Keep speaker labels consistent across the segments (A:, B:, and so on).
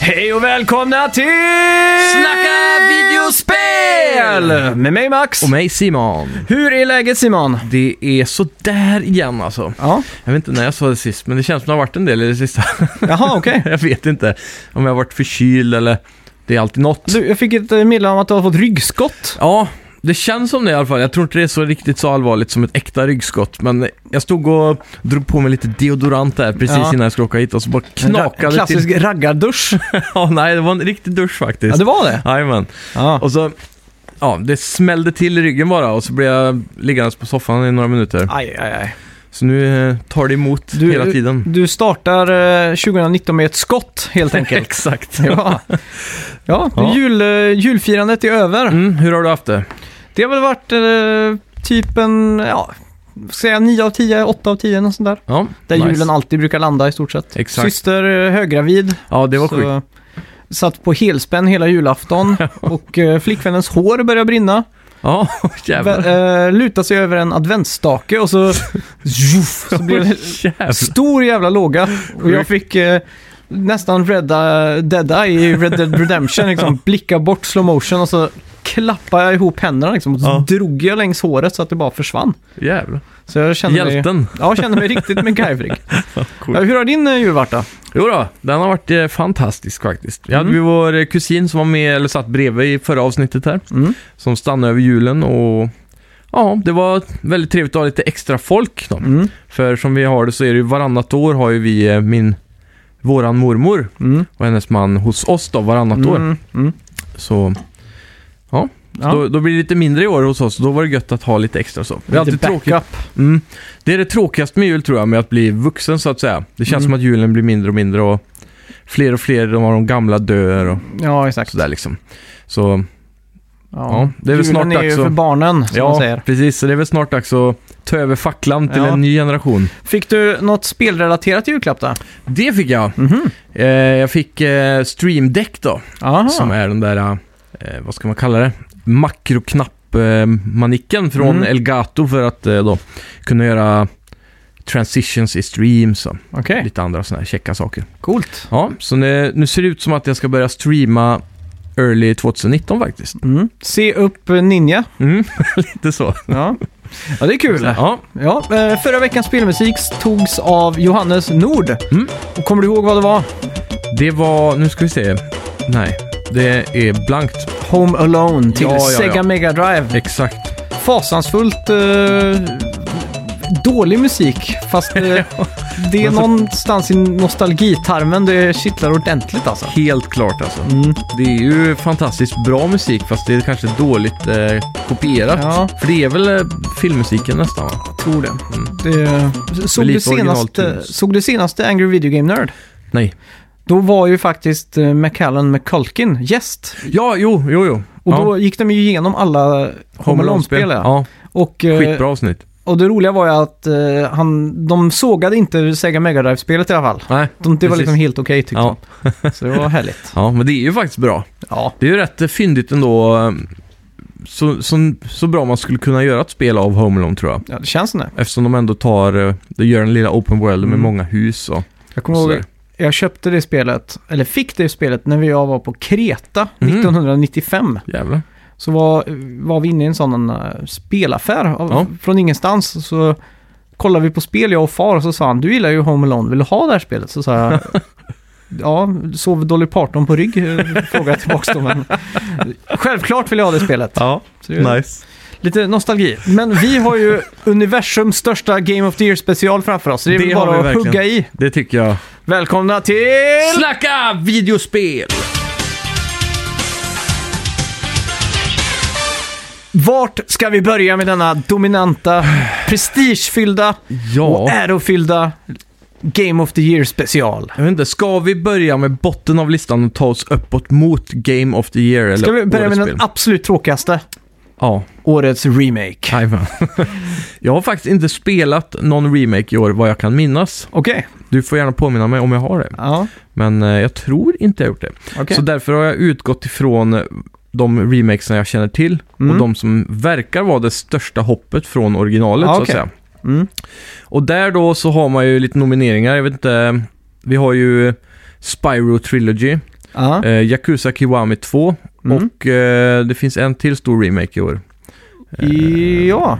A: Hej och välkomna till
B: Snacka videospel!
A: Med mig Max.
B: Och mig Simon.
A: Hur är läget Simon?
B: Det är sådär igen alltså.
A: Ja.
B: Jag vet inte när jag sa det sist, men det känns som det har varit en del i det sista.
A: Jaha, okej.
B: jag vet inte om jag har varit förkyld eller det är alltid något.
A: Du, jag fick ett eh, meddelande om att du har fått ryggskott.
B: Ja, det känns som det i alla fall. Jag tror inte det är så riktigt så allvarligt som ett äkta ryggskott, men jag stod och drog på mig lite deodorant där precis
A: Ja.
B: innan jag skulle åka hit och så bara
A: En ra-
B: knakade
A: klassisk
B: till.
A: raggardusch.
B: Ja, nej, det var en riktig dusch faktiskt.
A: ja, det var det.
B: Jajamän.
A: Ja.
B: Och så, ja, det smällde till i ryggen bara och så blev jag liggandes på soffan i några minuter.
A: Aj, aj, aj.
B: Så nu eh, tar det emot
A: Du-
B: hela tiden.
A: Du startar eh, 2019 med ett skott helt enkelt.
B: Exakt.
A: ja, ja,
B: Ja.
A: Jul, eh, julfirandet är över.
B: Mm, hur har du haft det?
A: Det har väl varit eh, typ en, ja, vad ska jag säga 9 av 10, 8 av 10 och sånt där.
B: Ja,
A: Där
B: nice.
A: julen alltid brukar landa i stort sett.
B: Exakt.
A: Syster eh, höggravid.
B: Ja, det var sjukt.
A: så Satt på helspänn hela julafton och eh, flickvännens hår började brinna.
B: Ja, jävlar.
A: Vä- eh, lutade sig över en adventsstake och så, Zjuff, så blev det
B: jävlar.
A: stor jävla låga. Och jag fick eh, nästan Red eh, Dead Eye i Red Dead Redemption. Liksom, blicka bort slow motion och så klappade jag ihop händerna liksom, och så
B: Ja.
A: drog jag längs håret så att det bara försvann.
B: jävlar.
A: Så jag kände mig,
B: Hjälten.
A: ja, jag kände mig riktigt MacGyverig.
B: Cool.
A: Ja, hur har din eh, jul varit då?
B: Jo då, den har varit eh, fantastisk faktiskt. Jag hade
A: Mm.
B: ju vår eh, kusin som var med, eller satt bredvid i förra avsnittet här,
A: Mm.
B: som stannade över julen och ja, det var väldigt trevligt att ha lite extra folk då.
A: Mm.
B: För som vi har det så är det ju varannat år har ju vi eh, min, våran mormor
A: Mm.
B: och hennes man hos oss då varannat år.
A: Mm. Mm.
B: Så
A: Ja.
B: Då, då blir det lite mindre i år hos oss, då var det gött att ha lite extra så. Det
A: Lite
B: är alltid
A: backup.
B: tråkigt. Mm. Det är det tråkigaste med jul tror jag, med att bli vuxen så att säga. Det känns
A: Mm.
B: som att julen blir mindre och mindre och fler och fler av de gamla dör och
A: Ja, exakt.
B: sådär liksom. Så Ja, det är väl
A: Julen
B: snart
A: är ju
B: dags att-
A: för barnen, som man säger.
B: ja, precis. Så det är väl snart dags att ta över facklan till
A: Ja.
B: en ny generation.
A: Fick du något spelrelaterat julklapp då?
B: Det fick jag.
A: Mhm.
B: Eh, jag fick eh, Stream Deck då,
A: Aha.
B: som är den där, eh, vad ska man kalla det, makroknapp eh, manicken från
A: Mm.
B: Elgato för att eh, då kunna göra transitions i streams och
A: Okej,
B: lite andra sådana här käcka saker.
A: coolt.
B: Ja, så nu, nu ser det ut som att jag ska börja streama early 2019 faktiskt.
A: Mm. Se upp eh, Ninja.
B: Mm, lite så.
A: Ja. ja, det är kul.
B: Ja,
A: Ja, eh, förra veckans spelmusik togs av Johannes Nord.
B: Mm.
A: Och kommer du ihåg vad det var?
B: det var, nu ska vi se, nej, det är blankt.
A: Home Alone till
B: Ja, ja, ja.
A: Sega Mega Drive.
B: Exakt.
A: Fasansfullt eh, dålig musik, fast eh, det är
B: Men så-
A: någonstans i nostalgitarmen det kittlar ordentligt alltså.
B: Helt klart alltså.
A: Mm.
B: Det är ju fantastiskt bra musik fast det är kanske dåligt eh, kopierat.
A: Ja.
B: För det är väl eh, filmmusiken nästan va?
A: Tror det.
B: Mm.
A: det såg,
B: Med
A: du
B: lite
A: senaste,
B: originaltunes.
A: såg du senaste Angry Video Game Nerd?
B: Nej.
A: Då var ju faktiskt eh, McCallan McCulkin gäst.
B: Ja, jo, jo, jo.
A: Och
B: ja.
A: då gick de ju igenom alla Home Alone-spel. Ja.
B: Ja,
A: Och, eh,
B: skitbra avsnitt.
A: och det roliga var ju att eh, han, de sågade inte Sega Mega Drive-spelet i alla fall.
B: Nej.
A: De, det var
B: Precis.
A: liksom helt okej tyckte
B: Ja.
A: de. Så det var härligt.
B: ja, men det är ju faktiskt bra.
A: Ja,
B: Det är ju rätt eh, fyndigt ändå. eh, Så, så, så bra man skulle kunna göra ett spel av Home Alone tror jag.
A: ja det känns som det.
B: Eftersom de ändå tar, eh, de gör en lilla open world med
A: Mm.
B: många hus och
A: Jag kommer ihåg,
B: sådär.
A: jag köpte det spelet, eller fick det spelet när jag var på Kreta
B: Mm.
A: 1995.
B: Jävlar.
A: Så var, var vi inne i en sån eh, spelaffär av,
B: Ja.
A: från ingenstans. Så kollade vi på spel, jag och far, och så sa han du gillar ju Home Alone, vill du ha det här spelet? Så sa jag, ja, sov Dolly Parton på rygg? Eh, Frågade jag tillbaka då, men självklart vill jag ha det spelet.
B: Ja,
A: Så det är Lite nostalgi. Men vi har ju universums största Game of the Year-special framför oss, så det är
B: Det
A: väl
B: har
A: bara
B: vi
A: att
B: verkligen.
A: hugga i.
B: Det tycker jag.
A: Välkomna till...
B: Snacka videospel!
A: Vart ska vi börja med denna dominanta, prestigefyllda och
B: Ja.
A: ärofyllda Game of the Year special.
B: Jag vet inte, ska vi börja med botten av listan och ta oss uppåt mot Game of the Year? Eller
A: Ska vi börja
B: årets
A: med
B: spel?
A: den absolut tråkigaste?
B: Ja,
A: Årets remake.
B: jajamän. Jag har faktiskt inte spelat någon remake i år vad jag kan minnas.
A: Okej.
B: Du får gärna påminna mig om jag har det.
A: Ja,
B: Men eh, jag tror inte jag har gjort det.
A: okej.
B: Så därför har jag utgått ifrån eh, de remakesen jag känner till
A: Mm.
B: och de som verkar vara det största hoppet från originalet
A: Ja,
B: så att
A: okej.
B: säga.
A: Mm.
B: Och där då så har man ju lite nomineringar. Jag vet inte, vi har ju Spyro Trilogy,
A: Ja.
B: Eh, Yakuza Kiwami 2
A: Mm.
B: och eh, det finns en till stor remake i år. eh,
A: ja.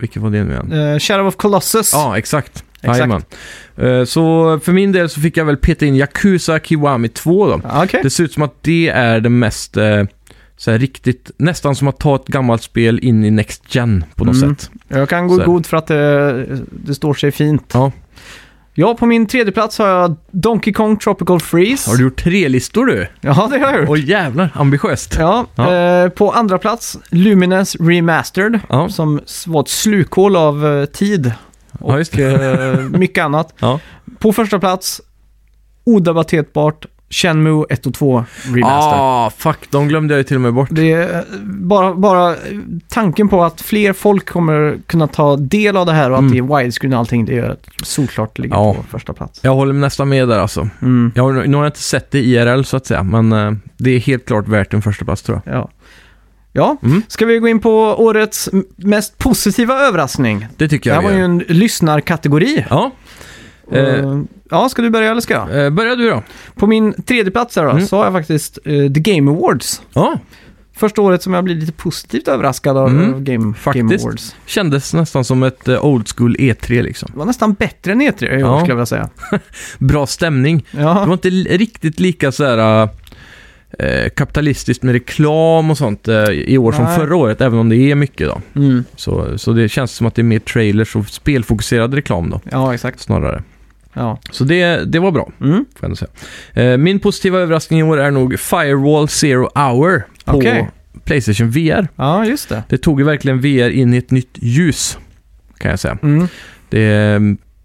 B: Vilken var det nu igen?
A: Eh, Shadow of Colossus.
B: Ja, exakt.
A: Exakt.
B: Jajamän. Eh, så för min del så fick jag väl peta in Yakuza Kiwami 2 då.
A: Ja, Okej.
B: Det ser ut som att det är det mest, eh, så här riktigt, nästan som att ta ett gammalt spel in i Next Gen på något
A: Mm.
B: sätt.
A: Jag kan gå i
B: Så här.
A: god för att det, det står sig fint.
B: Ja.
A: Ja, på min tredje plats har jag Donkey Kong Tropical Freeze.
B: Har du gjort tre listor du?
A: Ja, det har jag gjort.
B: Åh jävlar, ambitiöst.
A: Ja,
B: Ja.
A: Eh, på andra plats Lumines Remastered.
B: Ja.
A: Som s- var ett slukhål av eh, tid och
B: Ja, just det.
A: eh, mycket annat.
B: Ja.
A: På första plats, odebatterbart, Shenmue 1 och 2 Remastered.
B: Ah, fuck, de glömde jag ju till och med bort.
A: Det är eh, bara, bara eh, tanken på att fler folk kommer kunna ta del av det här och att
B: Mm.
A: det är widescreen och allting, det gör att solklart ligger
B: Ja.
A: på första plats.
B: Jag håller nästan med där alltså.
A: Mm.
B: Jag har, nu har jag inte sett det IRL så att säga, men eh, det är helt klart värt en första plats tror jag.
A: Ja. Ja,
B: Mm.
A: ska vi gå in på årets m- mest positiva överraskning?
B: Det tycker
A: Det
B: jag
A: här var
B: vi
A: ju
B: gör.
A: en lyssnarkategori.
B: Ja, Eh.
A: Eh, Ja, ska du börja eller ska jag?
B: eh, börja du då.
A: På min tredje plats här då,
B: Mm.
A: så har jag faktiskt eh, The Game Awards.
B: Ja,
A: Första året som jag blir lite positivt överraskad av
B: Mm,
A: eh, Game, Game
B: faktiskt.
A: Awards.
B: kändes nästan som ett eh, old school E3 liksom.
A: Det var nästan bättre än E3 i år
B: Ja.
A: skulle jag vilja säga.
B: Bra stämning. Det
A: Ja,
B: var inte li- riktigt lika så här eh, kapitalistiskt med reklam och sånt eh, i år som
A: Nej.
B: förra året, även om det är mycket då.
A: mm.
B: Så, så det känns som att det är mer trailers och spelfokuserad reklam då,
A: ja exakt.
B: snarare.
A: Ja.
B: Så det, det var bra,
A: Mm.
B: får jag ändå säga. Eh, min positiva överraskning i år är nog Firewall Zero Hour på
A: Okej.
B: Playstation VR.
A: ja, just det.
B: Det tog ju verkligen VR in i ett nytt ljus, kan jag säga.
A: Mm.
B: Det är eh,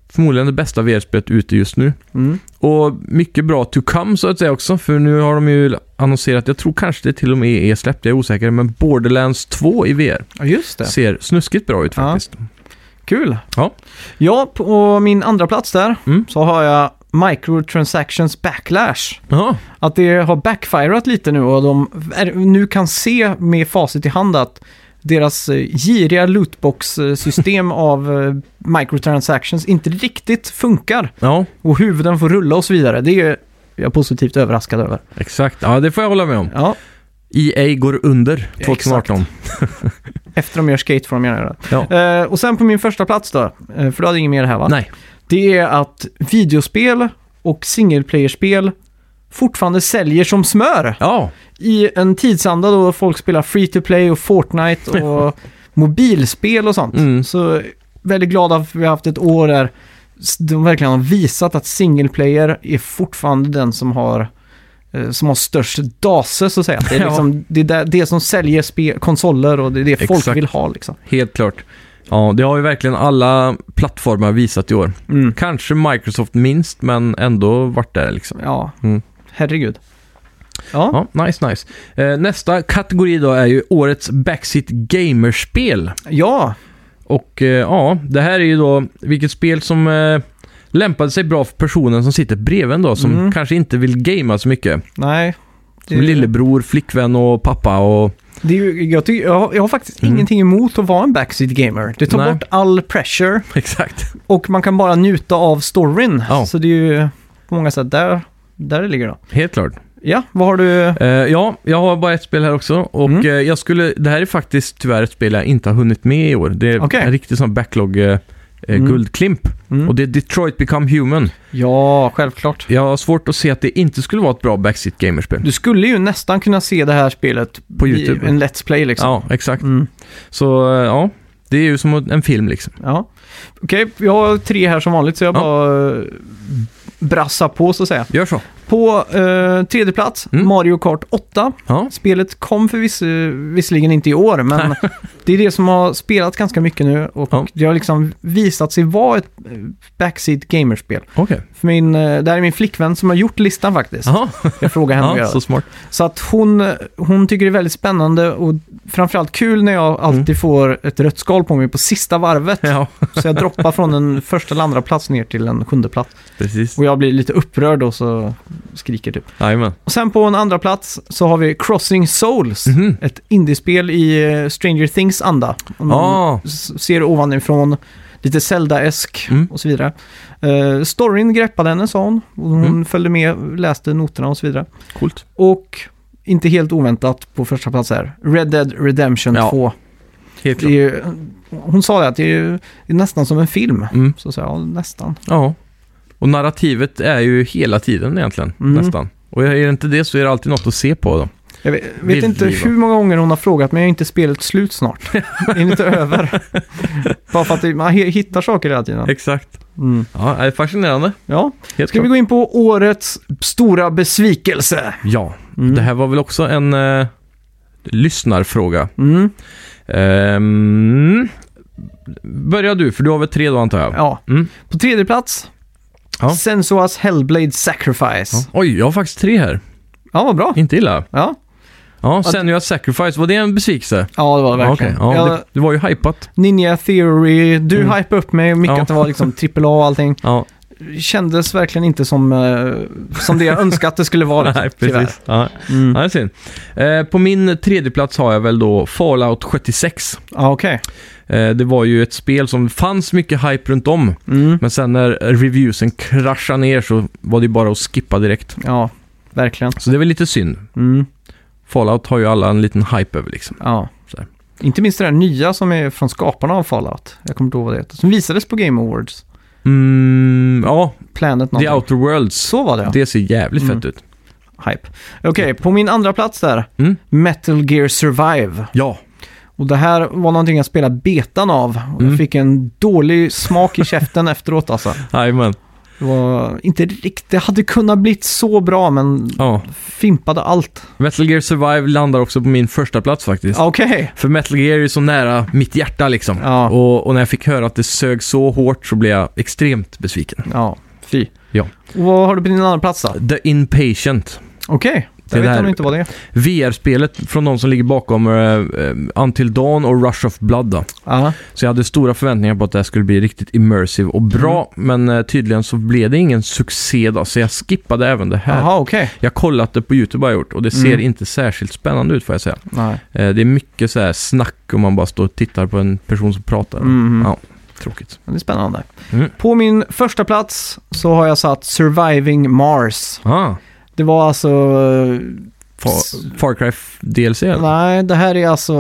B: förmodligen det bästa VR-spelet ute just nu.
A: Mm.
B: Och mycket bra to come så att säga också, för nu har de ju annonserat, jag tror kanske det till och med är släppt, jag är osäker, men Borderlands 2 i VR
A: Ja, just det.
B: ser snuskigt bra ut
A: Ja.
B: faktiskt.
A: Kul.
B: Ja.
A: Ja, på min andra plats där
B: Mm.
A: så har jag Microtransactions Backlash.
B: Ja,
A: Att det har backfirat lite nu och de är, nu kan se med facit i hand att deras eh, giriga lootbox-system av eh, microtransactions inte riktigt funkar.
B: ja
A: Och huvuden får rulla och så vidare. Det är jag positivt överraskad över.
B: exakt. Ja, det får jag hålla med om.
A: Ja,
B: EA går under
A: Ja,
B: 2018.
A: efter de gör skate får de gärna göra det.
B: Ja.
A: Eh, och sen på min första plats då, eh, för du hade inget mer här va?
B: Nej,
A: Det är att videospel och singleplayerspel fortfarande säljer som smör.
B: ja,
A: I en tidsanda då folk spelar free to play och Fortnite och mobilspel och sånt.
B: Mm.
A: Så väldigt glad att vi har haft ett år där s- de verkligen har visat att single player är fortfarande den som har eh, som har störst dase så att säga. Det är,
B: Ja.
A: liksom, det, är där, det som säljer spe, konsoler och det är det folk
B: Exakt.
A: vill ha liksom.
B: helt klart. Ja, det har ju verkligen alla plattformar visat i år.
A: Mm.
B: Kanske Microsoft minst, men ändå vart där liksom.
A: Ja,
B: Mm.
A: herregud. Ja.
B: Ja, nice, nice. Eh, nästa kategori då är ju årets Backseat Gamerspel.
A: ja,
B: Och eh, ja, det här är ju då vilket spel som eh, lämpade sig bra för personen som sitter bredvid en då, som
A: Mm.
B: kanske inte vill gamea så mycket.
A: nej.
B: Som lillebror, flickvän och pappa och...
A: Det är ju, jag, tycker, jag, har, jag har faktiskt
B: Mm.
A: ingenting emot att vara en backseat gamer. Det tar
B: Nej.
A: bort all pressure
B: Exakt.
A: och man kan bara njuta av storyn.
B: Ja.
A: Så det är ju på många sätt där, där det ligger då.
B: Helt klart.
A: Ja, vad har du?
B: Eh, ja, jag har bara ett spel här också och
A: Mm.
B: eh, jag skulle... Det här är faktiskt tyvärr ett spel jag inte har hunnit med i år. Det är
A: Okej.
B: en riktig sån backlog eh, eh,
A: Mm.
B: guldklimp.
A: Mm.
B: Och det är Detroit Become Human.
A: Ja, självklart.
B: Jag har svårt att se att det inte skulle vara ett bra backseat gamerspel.
A: Du skulle ju nästan kunna se det här spelet
B: På
A: i
B: YouTube.
A: en Let's Play liksom.
B: Ja, exakt.
A: Mm.
B: Så eh, ja, det är ju som en film liksom.
A: Ja. Okej, jag har tre här som vanligt så jag
B: Ja.
A: bara eh, brassar på så att säga.
B: Gör så.
A: På eh, tredje plats,
B: Mm.
A: Mario Kart 8.
B: Ja,
A: Spelet kom förvisso, visserligen inte i år, men det är det som har spelat ganska mycket nu och
B: Ja.
A: det har liksom visat sig vara ett eh, backseat gamerspel.
B: okej.
A: För min, eh, det här är min flickvän som har gjort listan faktiskt.
B: Jaha,
A: Jag frågar henne att
B: ja,
A: göra
B: så
A: det.
B: smart.
A: Så att hon, hon tycker det är väldigt spännande och framförallt kul när jag alltid får ett rött skal på mig på sista varvet.
B: Mm. Ja,
A: Så jag droppar från en första eller andra plats ner till en sjunde plats.
B: precis.
A: Och jag blir lite upprörd och så skriker typ.
B: Jajamän.
A: Och sen på en andra plats så har vi Crossing Souls.
B: Mhm.
A: Ett indiespel i eh, Stranger Things anda. Om man
B: Ah.
A: s- ser ovanifrån. lite Zelda-esk
B: Mm.
A: och så vidare. Eh, storyn greppade henne, sa hon. Och Hon
B: Mm.
A: följde med, läste noterna och så vidare.
B: Coolt.
A: Och inte helt oväntat på första plats här, Red Dead Redemption
B: Ja,
A: 2.
B: Helt
A: Det är
B: klart.
A: ju, hon sa det att det är, ju, det är nästan som en film.
B: Mm.
A: Så sa jag, ja, nästan.
B: Ja. Och narrativet är ju hela tiden egentligen,
A: Mm.
B: nästan. Och är det inte det så är det alltid något att se på då.
A: Jag vet, vet
B: Vill
A: inte
B: driva.
A: hur många gånger hon har frågat men är inte spelet slut snart? är inte över? Bara för att det- man he- hittar saker hela tiden.
B: Exakt.
A: Mm.
B: Ja, det är fascinerande.
A: Ja,
B: Helt
A: ska vi
B: klart.
A: gå in på årets stora besvikelse?
B: Ja,
A: Mm.
B: det här var väl också en eh, lyssnarfråga.
A: Mm.
B: Ehm, börja du, för du har väl tre då antar jag?
A: Ja.
B: Mm.
A: På tredje plats,
B: Ja.
A: Sensuas Hellblade Sacrifice.
B: Ja.
A: Ja,
B: Oj, jag har faktiskt tre här.
A: vad bra.
B: Inte illa.
A: Ja.
B: Ja, sen jag Sacrifice, var det en besvikelse?
A: ja, det var det
B: Ja,
A: verkligen.
B: okej. ja,
A: jag,
B: det, det var ju hypat.
A: Ninja Theory, du
B: Mm.
A: hypade upp mig mycket
B: Ja.
A: att det var liksom AAA och allting.
B: Ja,
A: Kändes verkligen inte som, eh, som det jag önskade att det skulle vara.
B: nej,
A: liksom, tyvärr.
B: precis. Ja.
A: Mm.
B: Ja, det är synd. Eh, på min tredje plats har jag väl då Fallout 76.
A: Ja, okej.
B: Eh, det var ju ett spel som fanns mycket hype runt om.
A: Mm.
B: Men sen när reviewsen kraschade ner så var det ju bara att skippa direkt.
A: Ja, verkligen.
B: Så det är väl lite synd.
A: Mm. Fallout.
B: Fallout har ju alla en liten hype över liksom.
A: Ja.
B: Så här.
A: Inte minst det där nya som är från skaparna av Fallout. Jag kommer inte ihåg vad det heter. Som visades på Game Awards.
B: Mm, ja,
A: Planet
B: The
A: någonting.
B: Outer Worlds.
A: Så var det ja.
B: Det ser jävligt
A: Mm.
B: fett ut.
A: Hype. Okej, på min andra plats där.
B: Mm.
A: Metal Gear Survive.
B: Ja,
A: Och det här var någonting jag spelade betan av. Och
B: Mm.
A: Jag fick en dålig smak i käften efteråt alltså.
B: jajamän.
A: Det var inte riktigt, det hade kunnat blivit så bra men
B: Ja.
A: fimpade allt.
B: Metal Gear Survive landar också på min första plats faktiskt.
A: Okej.
B: För Metal Gear är ju så nära mitt hjärta liksom.
A: Ja.
B: Och, och när jag fick höra att det sög så hårt så blev jag extremt besviken.
A: Ja, fy.
B: Ja.
A: Och vad har du på din andra plats då?
B: The Inpatient.
A: Okej,
B: Det
A: jag vet
B: där-
A: jag inte vad det är.
B: VR-spelet från de som ligger bakom eh, eh, Until Dawn och Rush of Blood. Då.
A: Ja.
B: Så jag hade stora förväntningar på att det här skulle bli riktigt immersive och bra.
A: Mm.
B: Men eh, tydligen så blev det ingen succé då, så jag skippade även det här.
A: Jaha, okej.
B: Jag kollat det på YouTube har jag gjort och det ser
A: Mm.
B: inte särskilt spännande ut får jag säga.
A: Nej.
B: Eh, det är mycket så här snack och man bara står och tittar på en person som pratar.
A: Mm.
B: Ja. Tråkigt.
A: Det är spännande.
B: Mm.
A: På min första plats så har jag satt Surviving Mars.
B: Ah,
A: Det var alltså...
B: Far, Far Cry f- DLC? eller?
A: Nej, det här är alltså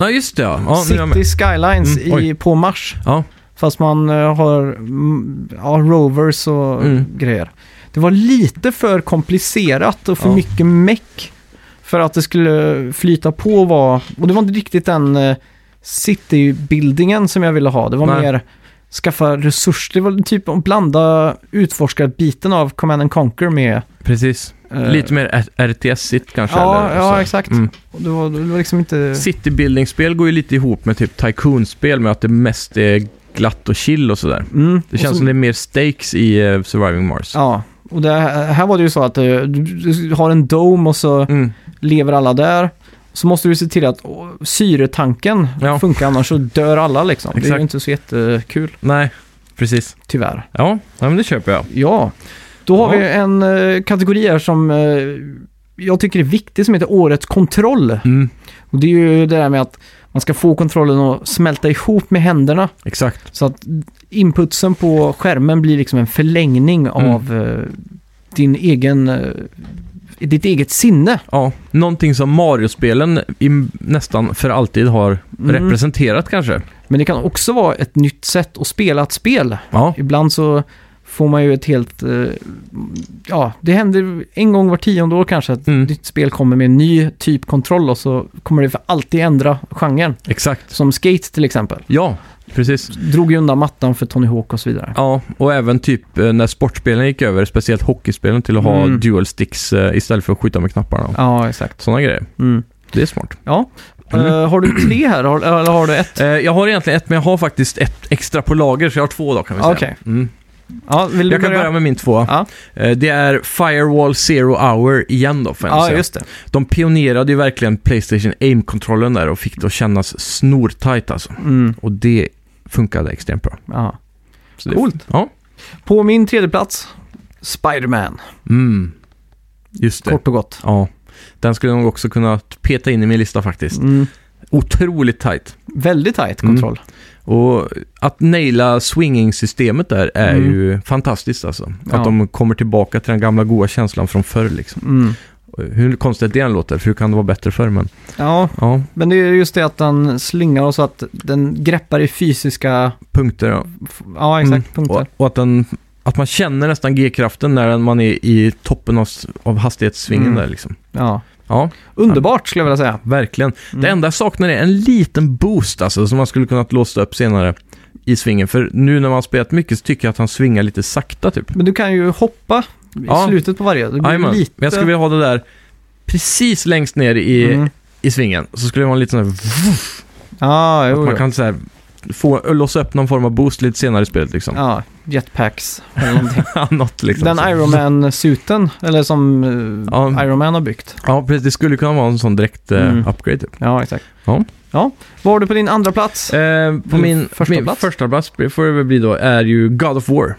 B: Ja, just det ja. ja nu är jag med.
A: City Skylines
B: Mm, oj.
A: i, på Mars.
B: Ja.
A: Fast man eh, har mm, ja, rovers och
B: Mm.
A: grejer. Det var lite för komplicerat och för
B: Ja.
A: mycket meck för att det skulle flyta på och vara... Och det var inte riktigt den eh, citybildningen som jag ville ha. Det var
B: Nej.
A: mer skaffa resurser. Det var typ att blanda utforskarbiten av Command and Conquer med...
B: Precis.
A: eh,
B: Lite mer R- RTS-igt kanske?
A: Ja,
B: eller,
A: ja
B: så.
A: exakt.
B: Mm.
A: Och Det, var, det var liksom inte...
B: Citybuilding-spel går ju lite ihop med typ Tycoon-spel med att det mest är glatt och chill och sådär.
A: Mm.
B: Det
A: Och
B: känns
A: så-
B: som det är mer stakes i eh, Surviving Mars.
A: Ja, och det, här var det ju så att eh, du, du har en dome och så
B: Mm.
A: lever alla där. Så måste du se till att åh, syretanken
B: Ja.
A: funkar, annars så dör alla liksom. Det är
B: Exakt.
A: ju inte så jättekul,
B: Nej, precis.
A: tyvärr.
B: Ja, ja, men det köper jag.
A: Ja, då har
B: Ja.
A: vi en eh, kategori här som eh, jag tycker är viktig som heter Årets kontroll.
B: Mm.
A: Och det är ju det där med att man ska få kontrollen att smälta ihop med händerna.
B: Exakt.
A: Så att inputsen på skärmen blir liksom en förlängning
B: Mm.
A: av eh, din egen, eh, ditt eget sinne.
B: Ja, någonting som Mario-spelen i, nästan för alltid har
A: Mm.
B: representerat kanske.
A: Men det kan också vara ett nytt sätt att spela ett spel.
B: Ja,
A: Ibland så får man ju ett helt... eh, ja, det händer en gång var tionde år kanske att ett
B: Mm.
A: nytt spel kommer med en ny typ kontroll och så kommer det för alltid ändra genren.
B: exakt.
A: Som Skate till exempel.
B: Ja, precis.
A: Drog ju undan mattan för Tony Hawk och så vidare.
B: Ja, och även typ eh, när sportspelen gick över, speciellt hockeyspelen, till att ha
A: Mm.
B: dual sticks eh, istället för att skjuta med knapparna.
A: Ja, exakt.
B: Sådana grejer.
A: Mm.
B: Det är smart.
A: Ja.
B: Mm.
A: Eh, har du tre här har, eller har du ett?
B: Eh, jag har egentligen ett, men jag har faktiskt ett extra på lager, så jag har två då kan vi säga.
A: Okej.
B: Mm.
A: Ja, vill du
B: Jag kan börja med min tvåa.
A: Ja.
B: Eh, det är Firewall Zero Hour igen då, får jag
A: Ja,
B: säga.
A: just det.
B: De pionerade ju verkligen Playstation Aim-kontrollen där och fick det att kännas snortajt alltså.
A: Mm.
B: Och det funkade extremt bra.
A: Ja.
B: Så det-
A: Coolt.
B: Ja.
A: På min tredje plats Spider-Man.
B: Mm. Just det.
A: Kort och gott.
B: Ja. Den skulle jag nog också kunna peta in i min lista faktiskt.
A: Mm.
B: otroligt tight.
A: Väldigt tight
B: Mm.
A: kontroll.
B: Och att naila swinging-systemet där är
A: Mm.
B: ju fantastiskt alltså. Att
A: Ja.
B: de kommer tillbaka till den gamla goa känslan från förr liksom.
A: Mm.
B: Hur konstigt det än låter, för hur kan det vara bättre förr? Men
A: Ja,
B: ja,
A: men det är just det att den slingar och så att den greppar i fysiska,
B: punkter ja.
A: ja exakt,
B: Mm.
A: punkter.
B: Och, och att, den, att man känner nästan G-kraften när man är i toppen av, s- av hastighetssvingen
A: Mm.
B: där liksom.
A: Ja.
B: Ja,
A: Underbart skulle jag vilja säga.
B: verkligen.
A: Mm.
B: Det enda jag saknar är en liten boost alltså, som man skulle kunnat låsa upp senare i svingen. För nu när man har spelat mycket så tycker jag att han svingar lite sakta typ.
A: Men du kan ju hoppa i
B: Ja.
A: slutet på varje. Det blir
B: Jajamän.
A: lite...
B: Men jag skulle vilja ha det där precis längst ner i,
A: Mm.
B: i svingen. Så skulle det vara en liten sån här,
A: Ja, jo,
B: att man
A: jo.
B: kan så här, få, låsa upp någon form av boost lite senare i spelet liksom.
A: Ja, jetpacks eller någonting.
B: Något liksom.
A: Den
B: Så-
A: Iron Man-suten, eller som eh,
B: Ja.
A: Iron Man har byggt.
B: Ja, precis. Det skulle kunna vara en sån direkt eh,
A: Mm.
B: upgrade typ.
A: Ja, exakt.
B: Ja.
A: ja. Vad har du på din andra plats?
B: Eh, på
A: Eller
B: min
A: första
B: min
A: plats.
B: första plats får det väl bli då, är ju God of War.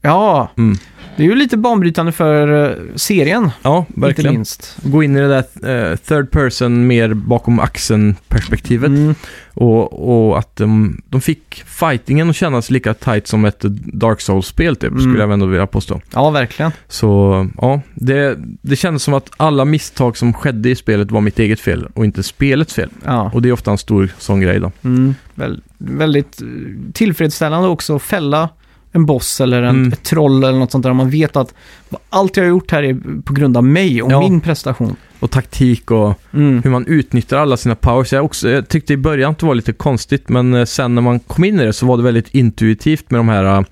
A: Ja,
B: Mm.
A: det är ju lite banbrytande för eh, serien,
B: Ja,
A: inte
B: verkligen.
A: minst.
B: Gå in i det där eh, third person mer bakom axeln-perspektivet.
A: Mm.
B: Och, och att de, de fick fightingen att kännas lika tight som ett Dark Souls-spel typ,
A: Mm.
B: skulle jag ändå vilja påstå.
A: Ja, verkligen.
B: Så ja, det, det kändes som att alla misstag som skedde i spelet var mitt eget fel och inte spelets fel.
A: Ja.
B: Och det är ofta en stor sån grej då.
A: Mm. Väl, väldigt eh, tillfredsställande också att fälla en boss eller en,
B: Mm.
A: ett troll eller något sånt där. Man vet att allt jag har gjort här är på grund av mig och
B: Ja.
A: min prestation.
B: Och taktik och
A: Mm.
B: hur man utnyttjar alla sina powers. Jag, också, jag tyckte i början att det var lite konstigt, men eh, sen när man kom in i det så var det väldigt intuitivt med de här,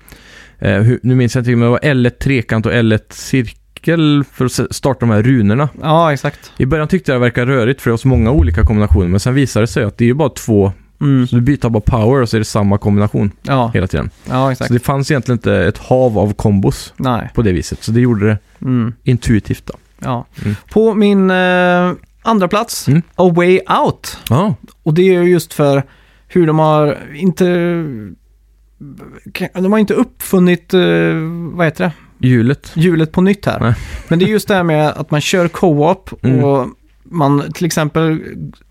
B: eh, hur, nu minns jag inte, men det var L1 trekant och L1 cirkel för att se- starta de här runorna.
A: Ja, exakt.
B: I början tyckte jag det verkade rörigt för det var så många olika kombinationer, men sen visade det sig att det är ju bara två,
A: Mm.
B: så du byter bara power och så är det samma kombination
A: Ja.
B: hela tiden.
A: ja, exakt.
B: Så det fanns egentligen inte ett hav av kombos
A: Nej.
B: på det viset, så det gjorde det
A: Mm.
B: intuitivt då.
A: Ja.
B: Mm.
A: På min eh, andra plats,
B: Mm.
A: A Way Out.
B: Ja,
A: Och det är ju just för hur de har inte... De har inte uppfunnit, eh, vad heter det?
B: hjulet.
A: hjulet på nytt här.
B: Nej.
A: Men det är just det här med att man kör co-op
B: Mm.
A: och man till exempel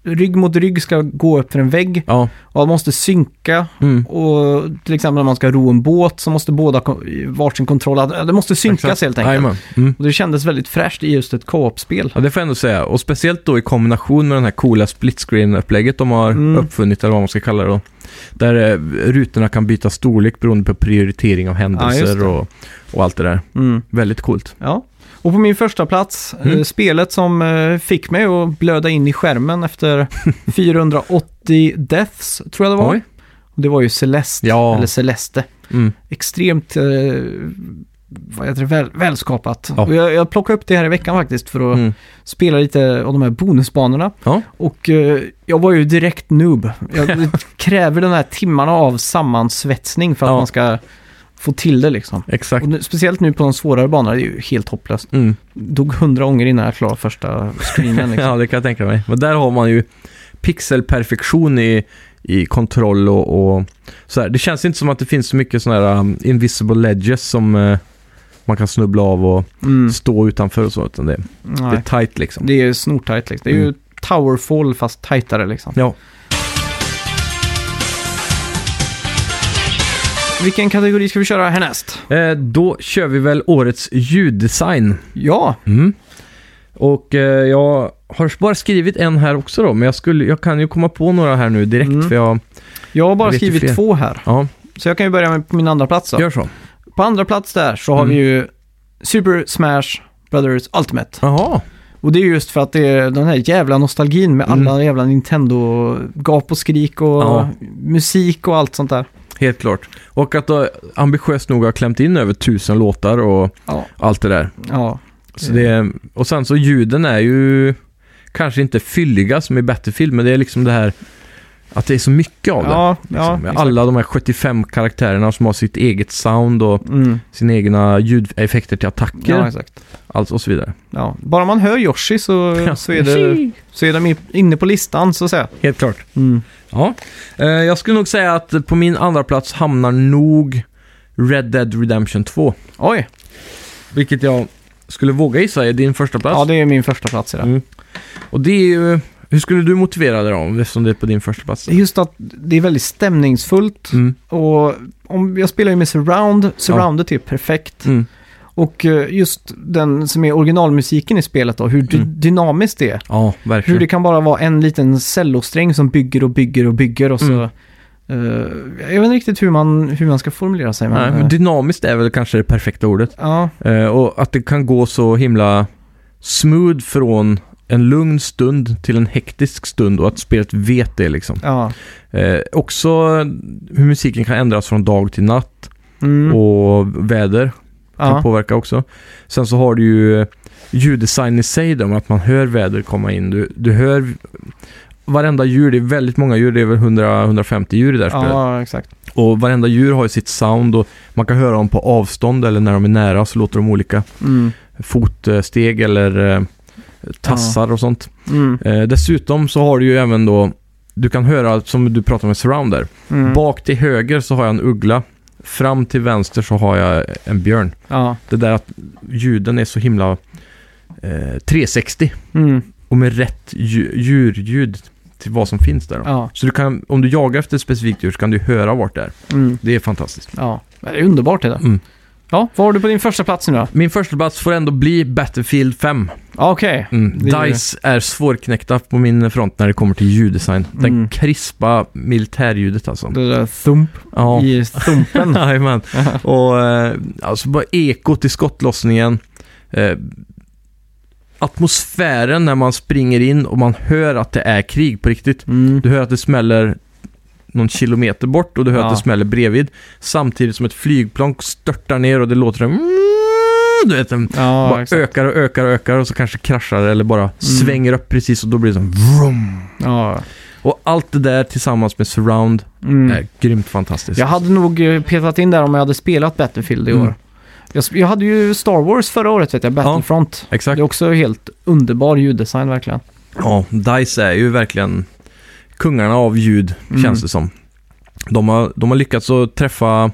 A: rygg mot rygg ska gå upp för en vägg
B: Ja,
A: och man måste synka.
B: mm.
A: Och till exempel när man ska ro en båt så måste båda ko- i varsin kontroll, ja, det måste synkas
B: Exakt.
A: helt enkelt.
B: Jajamän. Mm.
A: Och det kändes väldigt fräscht i just ett co-op-spel.
B: Ja, det får jag ändå säga. Och speciellt då i kombination med den här coola split screen-upplägget de har
A: Mm.
B: uppfunnit, eller vad man ska kalla det då. Där eh, rutorna kan byta storlek beroende på prioritering av händelser
A: det.
B: och, och allt det där.
A: Mm.
B: Väldigt coolt.
A: Ja. Och på min första plats,
B: Mm.
A: eh, spelet som eh, fick mig att blöda in i skärmen efter 480 deaths, tror jag det var.
B: Oj.
A: Och det var ju Celeste,
B: Ja.
A: eller Celeste.
B: Mm.
A: extremt eh, vad heter det, väl, välskapat.
B: Ja.
A: Och jag, jag plockade upp det här i veckan faktiskt för att
B: Mm.
A: spela lite av de här bonusbanorna.
B: Ja.
A: Och eh, jag var ju direkt noob. Jag det kräver de här timmarna av sammansvetsning för att
B: Ja.
A: man ska få till det liksom.
B: Exakt.
A: Och nu, speciellt nu på de svårare banorna, det är ju helt hopplöst.
B: Mm.
A: Dog hundra ånger innan jag klarade första screenen liksom.
B: Ja, det kan jag tänka mig. Men där har man ju pixelperfektion i, i kontroll och, och så här. Det känns inte som att det finns så mycket sådana här um, invisible ledges som eh, man kan snubbla av och
A: mm.
B: stå utanför och så. Utan det, det är
A: Nej.
B: tight liksom.
A: Det är ju snortajt liksom. Det är ju
B: Mm.
A: Towerfall fast tajtare liksom.
B: Ja.
A: Vilken kategori ska vi köra härnäst?
B: Eh, då kör vi väl årets ljuddesign.
A: Ja,
B: Mm. Och eh, jag har bara skrivit en här också då, men jag, skulle, jag kan ju komma på några här nu direkt
A: Mm.
B: för jag...
A: jag har bara
B: Jag vet ju
A: skrivit
B: fler.
A: två här.
B: Ja,
A: Så jag kan ju börja med på min andra plats då.
B: gör så.
A: På andra plats där så har
B: Mm.
A: vi ju Super Smash Brothers Ultimate.
B: Jaha.
A: Och det är just för att det är den här jävla nostalgin med
B: Mm.
A: alla jävla Nintendo-gap och skrik och
B: Ja.
A: musik och allt sånt där.
B: Helt klart. Och att då ambitiöst nog har klämt in över tusen låtar och
A: Ja.
B: allt det där.
A: Ja,
B: Så det, och sen så ljuden är ju kanske inte fylliga som i Battlefield, men det är liksom det här att det är så mycket av det.
A: ja, ja
B: liksom. Med
A: exakt.
B: Alla de här 75 karaktärerna som har sitt eget sound och
A: Mm.
B: sina egna ljudeffekter till attacker
A: Ja, exakt.
B: allt och så vidare.
A: Ja. Bara man hör Yoshi så, så, är det, så är de i- inne på listan så att säga.
B: Helt klart.
A: Mm.
B: Ja. Eh, Jag skulle nog säga att på min andra plats hamnar nog Red Dead Redemption 2.
A: Oj,
B: Vilket jag skulle våga gissa är din första plats.
A: ja det är min första plats i det.
B: Mm. Och det är ju Hur skulle du motivera det då, om- eftersom det är på din första plats?
A: Just att det är väldigt stämningsfullt
B: Mm.
A: och om, jag spelar ju med surround, surroundet är typ perfekt.
B: Mm.
A: Och eh, just den som är originalmusiken i spelet då, hur dy-
B: Mm.
A: dynamiskt det är.
B: Ja, verkligen.
A: Hur det kan bara vara en liten cellosträng som bygger och bygger och bygger och så...
B: Mm.
A: Eh, jag vet inte riktigt hur man, hur man ska formulera sig. Men,
B: Nej,
A: eh,
B: men dynamiskt är väl kanske det perfekta ordet.
A: ja,
B: Eh, och att det kan gå så himla smooth från en lugn stund till en hektisk stund och att spelet vet det liksom.
A: ja.
B: Eh, också hur musiken kan ändras från dag till natt
A: Mm,
B: och väder kan
A: ja.
B: påverka också. Sen så har du ju eh, ljuddesign i sig då, med att man hör väder komma in. Du, du hör varenda djur, det är väldigt många djur, det är väl 100-150 djur i det här spelet.
A: ja, exakt.
B: Och varenda djur har ju sitt sound och man kan höra dem på avstånd eller när de är nära så låter de olika
A: Mm,
B: fotsteg eller eh, tassar och sånt.
A: mm,
B: Eh, dessutom så har du ju även då, du kan höra som du pratar med surround där.
A: mm.
B: Bak till höger så har jag en uggla, fram till vänster så har jag en björn.
A: Ja.
B: Det där att ljuden är så himla eh, 360
A: Mm,
B: och med rätt dju- djurljud till vad som finns där. Då.
A: ja.
B: Så du kan, om du jagar efter ett specifikt djur så kan du höra vart det är.
A: Mm,
B: Det är fantastiskt.
A: ja. Det är underbart det där.
B: Mm.
A: Ja, vad har du på din första plats nu då?
B: Min första plats får ändå bli Battlefield 5.
A: Ja, Okej.
B: Mm.
A: Det är-
B: DICE är svårknäckta på min front när det kommer till ljuddesign. Den
A: Mm.
B: krispa militärljudet alltså.
A: Det där thump
B: Ja.
A: i thumpen.
B: Jajamän. Och eh, alltså bara ekot i skottlossningen. Eh, atmosfären när man springer in och man hör att det är krig på riktigt.
A: Mm.
B: Du hör att det smäller någon kilometer bort och du hör
A: Ja.
B: att det smäller bredvid. Samtidigt som ett flygplan störtar ner och det låter... en- Du vet, en
A: Ja,
B: bara
A: exakt. Mm.
B: ökar och ökar och ökar och så kanske kraschar det eller bara svänger upp precis och då blir det som vroom.
A: Ja.
B: Och allt det där tillsammans med surround
A: Mm.
B: är grymt fantastiskt.
A: Jag hade nog eh, petat in där om jag hade spelat Battlefield i år.
B: Mm.
A: Jag, sp- jag hade ju Star Wars förra året, vet jag, Battlefront.
B: Exakt.
A: Det är också helt underbar ljuddesign verkligen.
B: Ja, DICE är ju verkligen kungarna av ljud,
A: Mm.
B: känns det som. De har, de har lyckats att träffa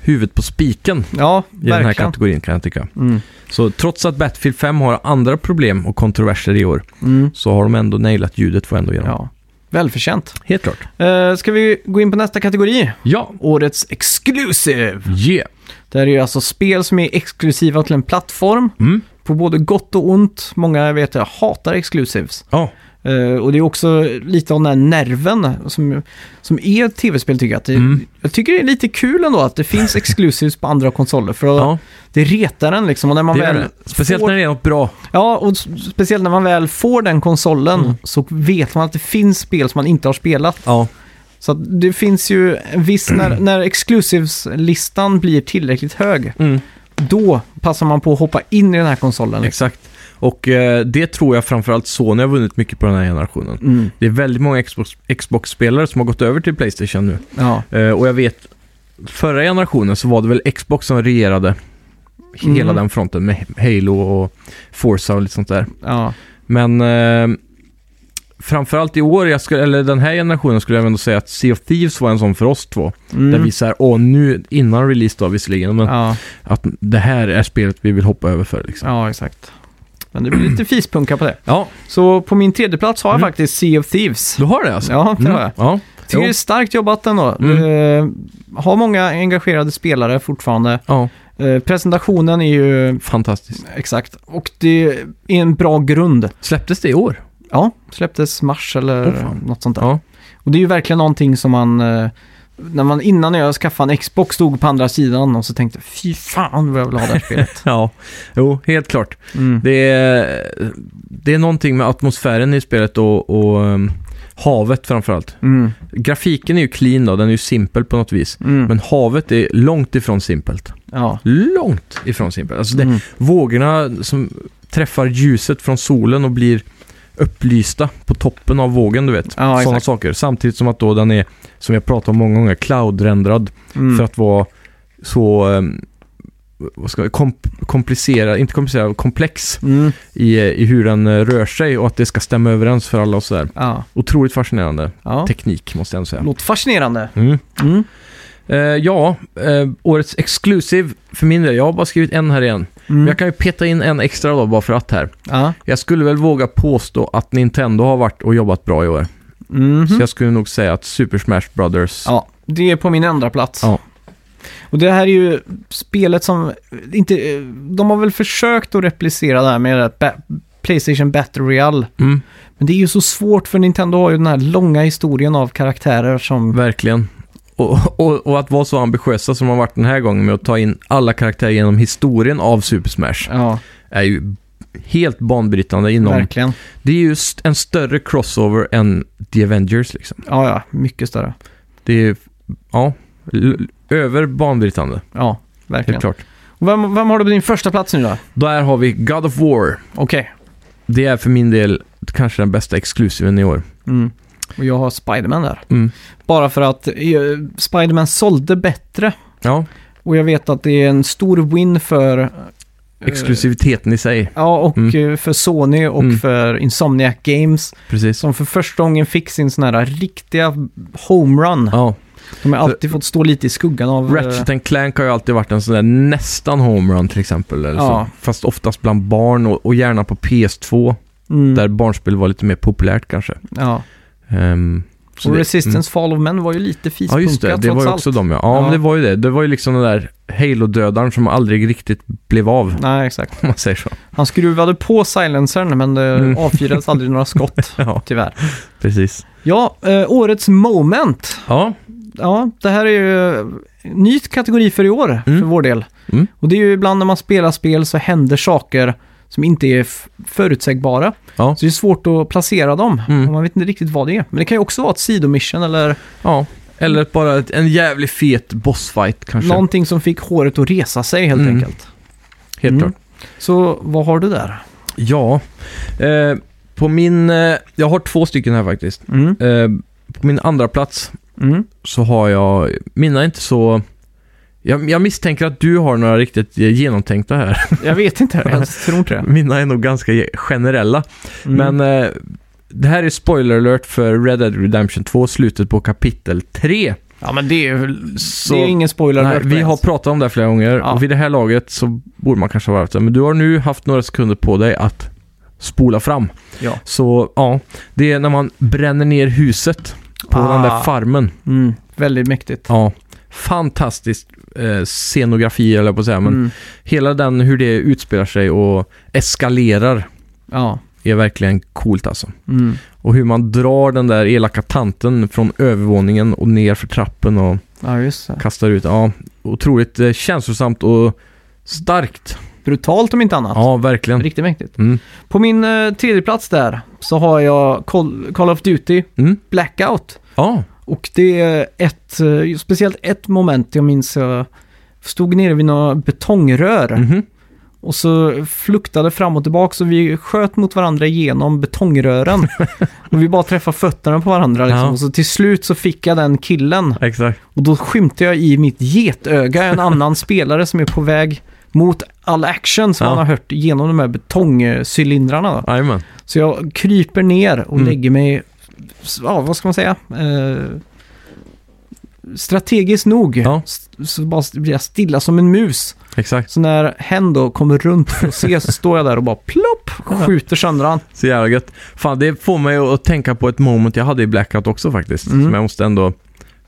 B: huvudet på spiken i
A: Ja,
B: den här
A: verkligen.
B: kategorin kan jag tycka.
A: Mm.
B: Så trots att Battlefield 5 har andra problem och kontroverser i år
A: Mm.
B: så har de ändå nailat ljudet får jag ändå igenom.
A: Ja, välförtjänt.
B: Helt klart.
A: Uh, ska vi gå in på nästa kategori?
B: Ja,
A: Årets Exclusive.
B: yeah.
A: Det här är ju alltså spel som är exklusiva till en plattform.
B: Mm.
A: På både gott och ont. Många vet jag hatar exclusives.
B: Ja,
A: Eh, och det är också lite av den här nerven som, som är ett tv-spel tycker jag. Att det,
B: Mm.
A: Jag tycker det är lite kul ändå att det finns exclusives på andra konsoler. För att
B: ja
A: det retar en liksom. Och när man
B: det är
A: väl
B: det. Speciellt
A: får...
B: när det är något bra.
A: Ja, och s- speciellt när man väl får den konsolen
B: Mm.
A: så vet man att det finns spel som man inte har spelat.
B: Ja,
A: Så att det finns ju en viss, när, när exclusives-listan blir tillräckligt hög,
B: mm.
A: då passar man på att hoppa in i den här konsolen. Liksom.
B: exakt. Och eh, det tror jag framförallt Sony har vunnit mycket på den här generationen.
A: Mm.
B: Det är väldigt många Xbox- Xbox-spelare som har gått över till Playstation nu.
A: Ja.
B: Eh, och jag vet, förra generationen så var det väl Xbox som regerade hela
A: Mm.
B: den fronten med Halo och Forza och lite sånt där.
A: Ja.
B: Men eh, framförallt i år, jag skulle, eller den här generationen skulle jag ändå säga att Sea of Thieves var en sån för oss två.
A: Mm.
B: Där vi så här, åh nu, innan release då visserligen, men
A: ja.
B: att det här är spelet vi vill hoppa över för liksom.
A: ja, exakt. Men det blir lite fispunka på det.
B: Ja,
A: Så på min tredje plats har jag
B: Mm.
A: faktiskt Sea of Thieves.
B: du har det alltså?
A: Ja, det har jag.
B: Mm. Ja,
A: Tycker det är starkt jobbat ändå.
B: Mm.
A: Eh, har många engagerade spelare fortfarande.
B: ja,
A: Eh, presentationen är ju
B: fantastiskt.
A: exakt. Och det är en bra grund.
B: Släpptes det i år?
A: Ja, släpptes mars eller
B: Åh, fan.
A: något sånt där.
B: Ja.
A: Och det är ju verkligen någonting som man... eh, När man innan jag skaffade en Xbox stod på andra sidan och så tänkte fy fan vad jag vill ha det här spelet.
B: Ja, jo, helt klart.
A: Mm.
B: Det är, det är någonting med atmosfären i spelet och, och um, havet framförallt.
A: Mm.
B: Grafiken är ju clean då, den är ju simpel på något vis.
A: Mm.
B: Men havet är långt ifrån simpelt.
A: ja.
B: Långt ifrån simpelt. Alltså det,
A: Mm.
B: vågorna som träffar ljuset från solen och blir upplysta på toppen av vågen, du vet.
A: Ja,
B: Sådana
A: exakt.
B: saker. Samtidigt som att då den är, som jag pratat om många gånger, cloud-rendrad
A: Mm.
B: för att vara så um, vad ska jag, komp- komplicerad, inte komplicerad, komplex
A: Mm.
B: i, i hur den eh, rör sig och att det ska stämma överens för alla och sådär.
A: Ja.
B: Otroligt fascinerande
A: ja.
B: teknik måste jag ändå säga.
A: Låter fascinerande.
B: Mm.
A: Mm.
B: Eh, ja, eh, årets exclusive för min del. Jag har bara skrivit en här igen.
A: Mm.
B: Men jag kan ju peta in en extra då, bara för att här.
A: Ja.
B: Jag skulle väl våga påstå att Nintendo har varit och jobbat bra i år.
A: Mhm.
B: Så jag skulle nog säga att Super Smash Brothers...
A: ja, det är på min andra plats.
B: Ja.
A: Och det här är ju spelet som inte... eh, De har väl försökt att replicera det här med det här ba- Playstation Battle Royale.
B: Mm,
A: Men det är ju så svårt för Nintendo har ju den här långa historien av karaktärer som...
B: verkligen. Och, och, och att vara så ambitiösa som de har varit den här gången med att ta in alla karaktärer genom historien av Super Smash
A: Ja,
B: är ju helt banbrytande inom...
A: verkligen.
B: Det är ju st- en större crossover än The Avengers liksom.
A: Ja, ja, mycket större.
B: Det är, ja, l- över banbrytande,
A: Ja,
B: helt
A: verkligen.
B: klart.
A: Och Vem, vem har du på din första plats nu då?
B: Där har vi God of War.
A: Okej.
B: Det är för min del kanske den bästa exklusiven i år.
A: Mm. Och jag har Spiderman där.
B: Mm.
A: Bara för att eh, Spiderman sålde bättre.
B: Ja,
A: Och jag vet att det är en stor win för... eh,
B: exklusiviteten i sig.
A: Ja, och
B: Mm.
A: eh, för Sony och
B: Mm.
A: för Insomniac Games.
B: Precis.
A: Som för första gången fick sin sån här riktiga homerun.
B: Ja,
A: De har alltid fått stå lite i skuggan av... eh,
B: Ratchet and Clank har ju alltid varit en sån där nästan homerun till exempel. Eller
A: Ja.
B: så. Fast oftast bland barn och, och gärna på PS2,
A: mm,
B: där barnspel var lite mer populärt kanske.
A: Ja.
B: Ehm, så
A: Och
B: det-
A: Resistance Fall of Men var ju lite
B: Ja, just
A: fispunka
B: det. Det var
A: trots
B: ju
A: allt.
B: också de, ja. Ja,
A: Ja.
B: men det var ju det. Det var ju liksom den där Halo-dödaren som aldrig riktigt blev av, om
A: Nej, exakt.
B: man säger så.
A: Han skruvade på silencern men det
B: Mm.
A: avfyrades aldrig några skott,
B: Ja,
A: tyvärr.
B: precis.
A: Ja, eh, årets moment.
B: Ja,
A: Ja, det här är ju en ny kategori för i år,
B: Mm.
A: för vår del.
B: Mm.
A: Och det är ju ibland när man spelar spel så händer saker som inte är f- förutsägbara.
B: Ja.
A: Så det är svårt att placera dem.
B: Mm.
A: Och man vet inte riktigt vad det är. Men det kan ju också vara ett sidomission eller
B: ja. Eller bara ett, en jävligt fet bossfight kanske.
A: någonting som fick håret att resa sig helt
B: Mm.
A: enkelt.
B: Helt
A: Mm.
B: klart.
A: Så vad har du där?
B: Ja. Eh, på min... Eh, jag har två stycken här faktiskt.
A: Mm.
B: Eh, på min andra plats
A: Mm.
B: så har jag... Mina är inte så... Jag, jag misstänker att du har några riktigt eh, genomtänkta här.
A: Jag vet inte, jag tror inte det.
B: Mina är nog ganska ge- generella.
A: Mm.
B: Men eh, det här är spoiler alert för Red Dead Redemption 2, slutet på kapitel 3.
A: ja, men det är ju
B: Så-
A: det är ingen spoiler.
B: Nej,
A: alert
B: vi
A: ens.
B: har pratat om det här flera gånger
A: Ja.
B: och vid det här laget så borde man kanske ha varit Men du har nu haft några sekunder på dig att spola fram.
A: Ja.
B: Så ja, det är när man bränner ner huset på
A: Ah.
B: den där farmen.
A: Mm. Väldigt mäktigt.
B: Ja, fantastisk eh, scenografi eller på att säga. Men
A: Mm.
B: hela den hur det utspelar sig och eskalerar
A: Ja.
B: är verkligen coolt alltså.
A: Mm.
B: Och hur man drar den där elaka tanten från övervåningen och ner för trappen och
A: ja, just det.
B: kastar ut. Ja, otroligt eh, känslosamt och starkt.
A: Brutalt om inte annat.
B: Ja, verkligen.
A: Alltså, Riktigt mäktigt.
B: Mm.
A: På min eh, tredje plats där så har jag Call, Call of Duty
B: Mm.
A: Blackout.
B: Ja,
A: Och det är ett, eh, speciellt ett moment jag minns jag stod nere vid några betongrör
B: mhm.
A: och så fluktade fram och tillbaka så vi sköt mot varandra genom betongrören. och vi bara träffade fötterna på varandra liksom.
B: Ja.
A: Och så till slut så fick jag den killen
B: exakt.
A: och då skymte jag i mitt getöga en annan spelare som är på väg mot all action som
B: Ja.
A: man har hört genom de här betongcylindrarna. Då.
B: Jajamän.
A: Så jag kryper ner och
B: Mm.
A: lägger mig, s- ja vad ska man säga, eh, strategiskt nog.
B: Ja.
A: s- Så bara s- blir jag stilla som en mus.
B: Exakt.
A: Så när hen då kommer runt för att se så står jag där och bara plopp, skjuter sönder han.
B: Så jävla gött. Fan, det får mig att tänka på ett moment jag hade i Blackout också faktiskt.
A: Mm.
B: Som jag måste ändå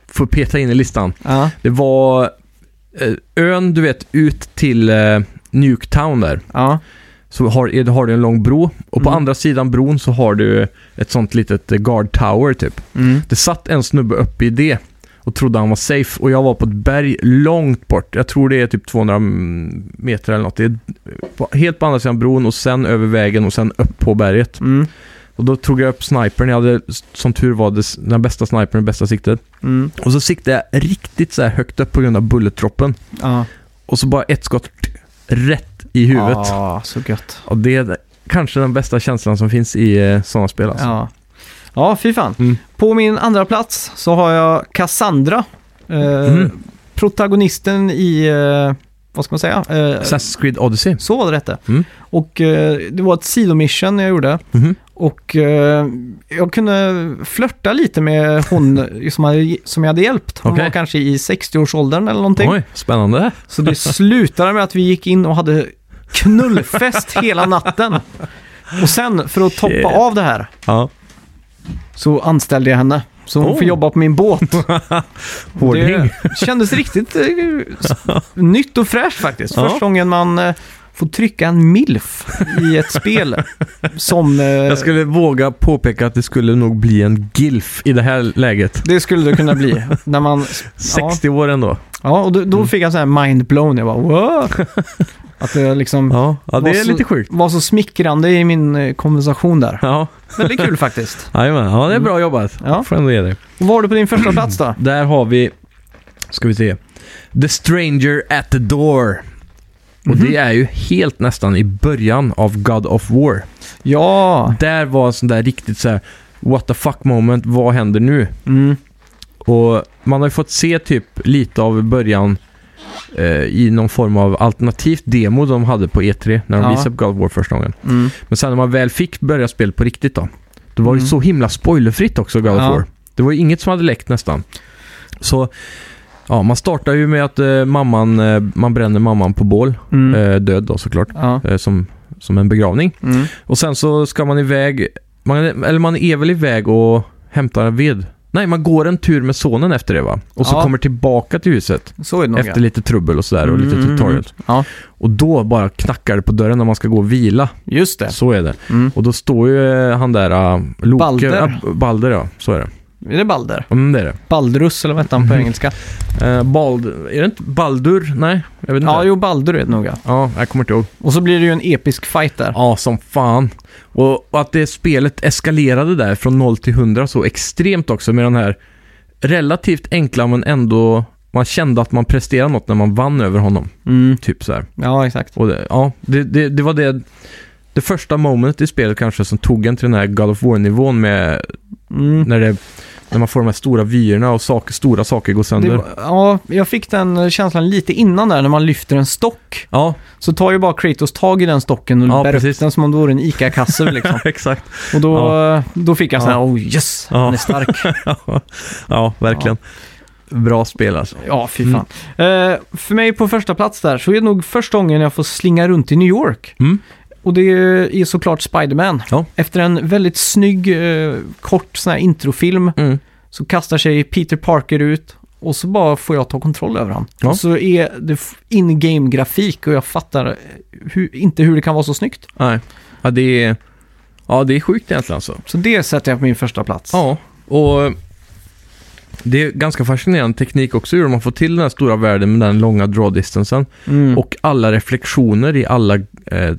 B: få peta in i listan.
A: Ja,
B: Det var eh, ön, du vet, ut till eh, Nuketown där.
A: ja,
B: Så har, är- har du en lång bro och på
A: Mm.
B: andra sidan bron så har du ett sånt litet eh, guard tower typ.
A: mm.
B: Det satt en snubbe uppe i det och trodde han var safe och jag var på ett berg långt bort. Jag tror det är typ 200 mm, meter eller något. Det är på, helt på andra sidan bron och sen över vägen och sen upp på berget.
A: Mm.
B: Och då tog jag upp snipern. Jag hade som tur var det, den bästa snipern, det bästa siktet.
A: Mm.
B: Och så siktade jag riktigt så här högt upp på grund av bulletdroppen.
A: Ja.
B: Och så bara ett skott rätt i huvudet.
A: Ja, så gött.
B: Och det är kanske den bästa känslan som finns i eh, sådana spel alltså.
A: Ja, ja fy fan.
B: Mm.
A: På min andra plats så har jag Cassandra. Eh,
B: Mm.
A: Protagonisten i, eh, vad ska man säga? Eh,
B: Assassin's Creed Odyssey.
A: Så var det rätt det.
B: Mm.
A: Och eh, det var ett sidomission jag gjorde.
B: Mhm.
A: Och eh, jag kunde flörta lite med hon som, hade, som jag hade hjälpt. Hon
B: Okej.
A: var kanske i 60-årsåldern eller någonting.
B: Oj, spännande.
A: Så det slutade med att vi gick in och hade knullfest hela natten. Och sen, för att toppa
B: Shit.
A: av det här,
B: Ja.
A: så anställde jag henne. Så hon
B: Oh.
A: får jobba på min båt.
B: Hårding.
A: Det kändes riktigt eh, s- nytt och fräscht faktiskt.
B: Ja.
A: Första gången man eh, får trycka en milf i ett spel som... eh,
B: Jag skulle våga påpeka att det skulle nog bli en GILF i det här läget.
A: Det skulle det kunna bli. När man,
B: 60 år ändå.
A: ja, och då, då fick jag så här mind-blown. Jag bara wow! Att det liksom
B: Ja, ja det
A: Vad
B: är
A: så-
B: lite sjukt.
A: var så smickrande i min eh, konversation där.
B: Ja,
A: Väldigt kul faktiskt.
B: jajamän. ja, det är bra jobbat.
A: Ja.
B: Får ändå ge dig.
A: Och Vad har du på din första plats då?
B: Där har vi, ska vi se, The Stranger at the Door. Och det är ju helt nästan i början av God of War.
A: Ja,
B: Där var en sån där riktigt så här what the fuck moment, vad händer nu?
A: mm.
B: Och man har ju fått se typ lite av början eh, i någon form av alternativt demo de hade på E3 när de
A: Ja.
B: visade upp God of War första gången.
A: Mm.
B: Men sen när man väl fick börja spela på riktigt då, det var ju
A: Mm.
B: så himla spoilerfritt också God of
A: Ja.
B: War. Det var ju inget som hade läckt nästan. Så, ja, man startar ju med att eh, mamman, eh, man bränner mamman på bål,
A: Mm.
B: eh, död då såklart,
A: Ja.
B: eh, som, som en begravning.
A: Mm.
B: Och sen så ska man iväg, man, eller man är väl iväg och hämtar en ved. Nej, man går en tur med sonen efter det va? Och så
A: Ja.
B: kommer tillbaka till huset
A: Så är det nog.
B: efter lite trubbel och sådär och lite
A: Mm, mm,
B: tutorials.
A: mm. Ja,
B: Och då bara knackar det på dörren när man ska gå och vila.
A: just det.
B: Så är det.
A: Mm.
B: Och då står ju eh, han där, äh, Loke.
A: Balder.
B: Ja, Balder ja, så är det.
A: Är det Balder?
B: Mm, det är det. Baldrus
A: Eller vad hette han på engelska?
B: Eh, Bald... Är det inte Baldur? Nej, jag vet inte.
A: Ja, jo, Balder är det nog ja.
B: ja, jag kommer inte ihåg.
A: Och så blir det ju en episk fight där.
B: Ja, som fan. Och, och att det spelet eskalerade där från 0 till 100 så extremt också med den här relativt enkla men ändå man kände att man presterade något när man vann över honom.
A: Mm.
B: Typ så här.
A: Ja, exakt.
B: Och det, ja, det, det, det var det, det första momentet i spelet kanske som tog en till den här God of War-nivån med
A: Mm.
B: när, det, när man får de här stora vyerna och saker, stora saker går
A: Det,
B: sönder.
A: var- ja, jag fick den känslan lite innan där när man lyfter en stock.
B: Ja,
A: Så tar ju bara Kratos tag i den stocken och
B: Ja,
A: bär
B: precis.
A: upp den som om det vore en ICA-kasse liksom.
B: exakt.
A: Och då, då fick jag sån här,
B: Ja.
A: oh yes,
B: Ja.
A: han är stark.
B: ja, verkligen. Bra spel alltså.
A: Ja, fy fan.
B: Mm.
A: Eh, för mig på första plats där så är det nog första gången jag får slinga runt i New York.
B: Mm.
A: Och det är såklart Spiderman.
B: Ja.
A: Efter en väldigt snygg, eh, kort sån här introfilm
B: Mm.
A: så kastar sig Peter Parker ut och så bara får jag ta kontroll över honom.
B: Ja.
A: Och så är det f- in-game-grafik och jag fattar hur, inte hur det kan vara så snyggt.
B: Nej. Ja, det är, ja, det är sjukt egentligen alltså.
A: Så det sätter jag på min första plats.
B: Ja, och det är ganska fascinerande teknik också hur de har fått till den här stora världen med den långa draw distansen
A: Mm.
B: och alla reflektioner i alla eh,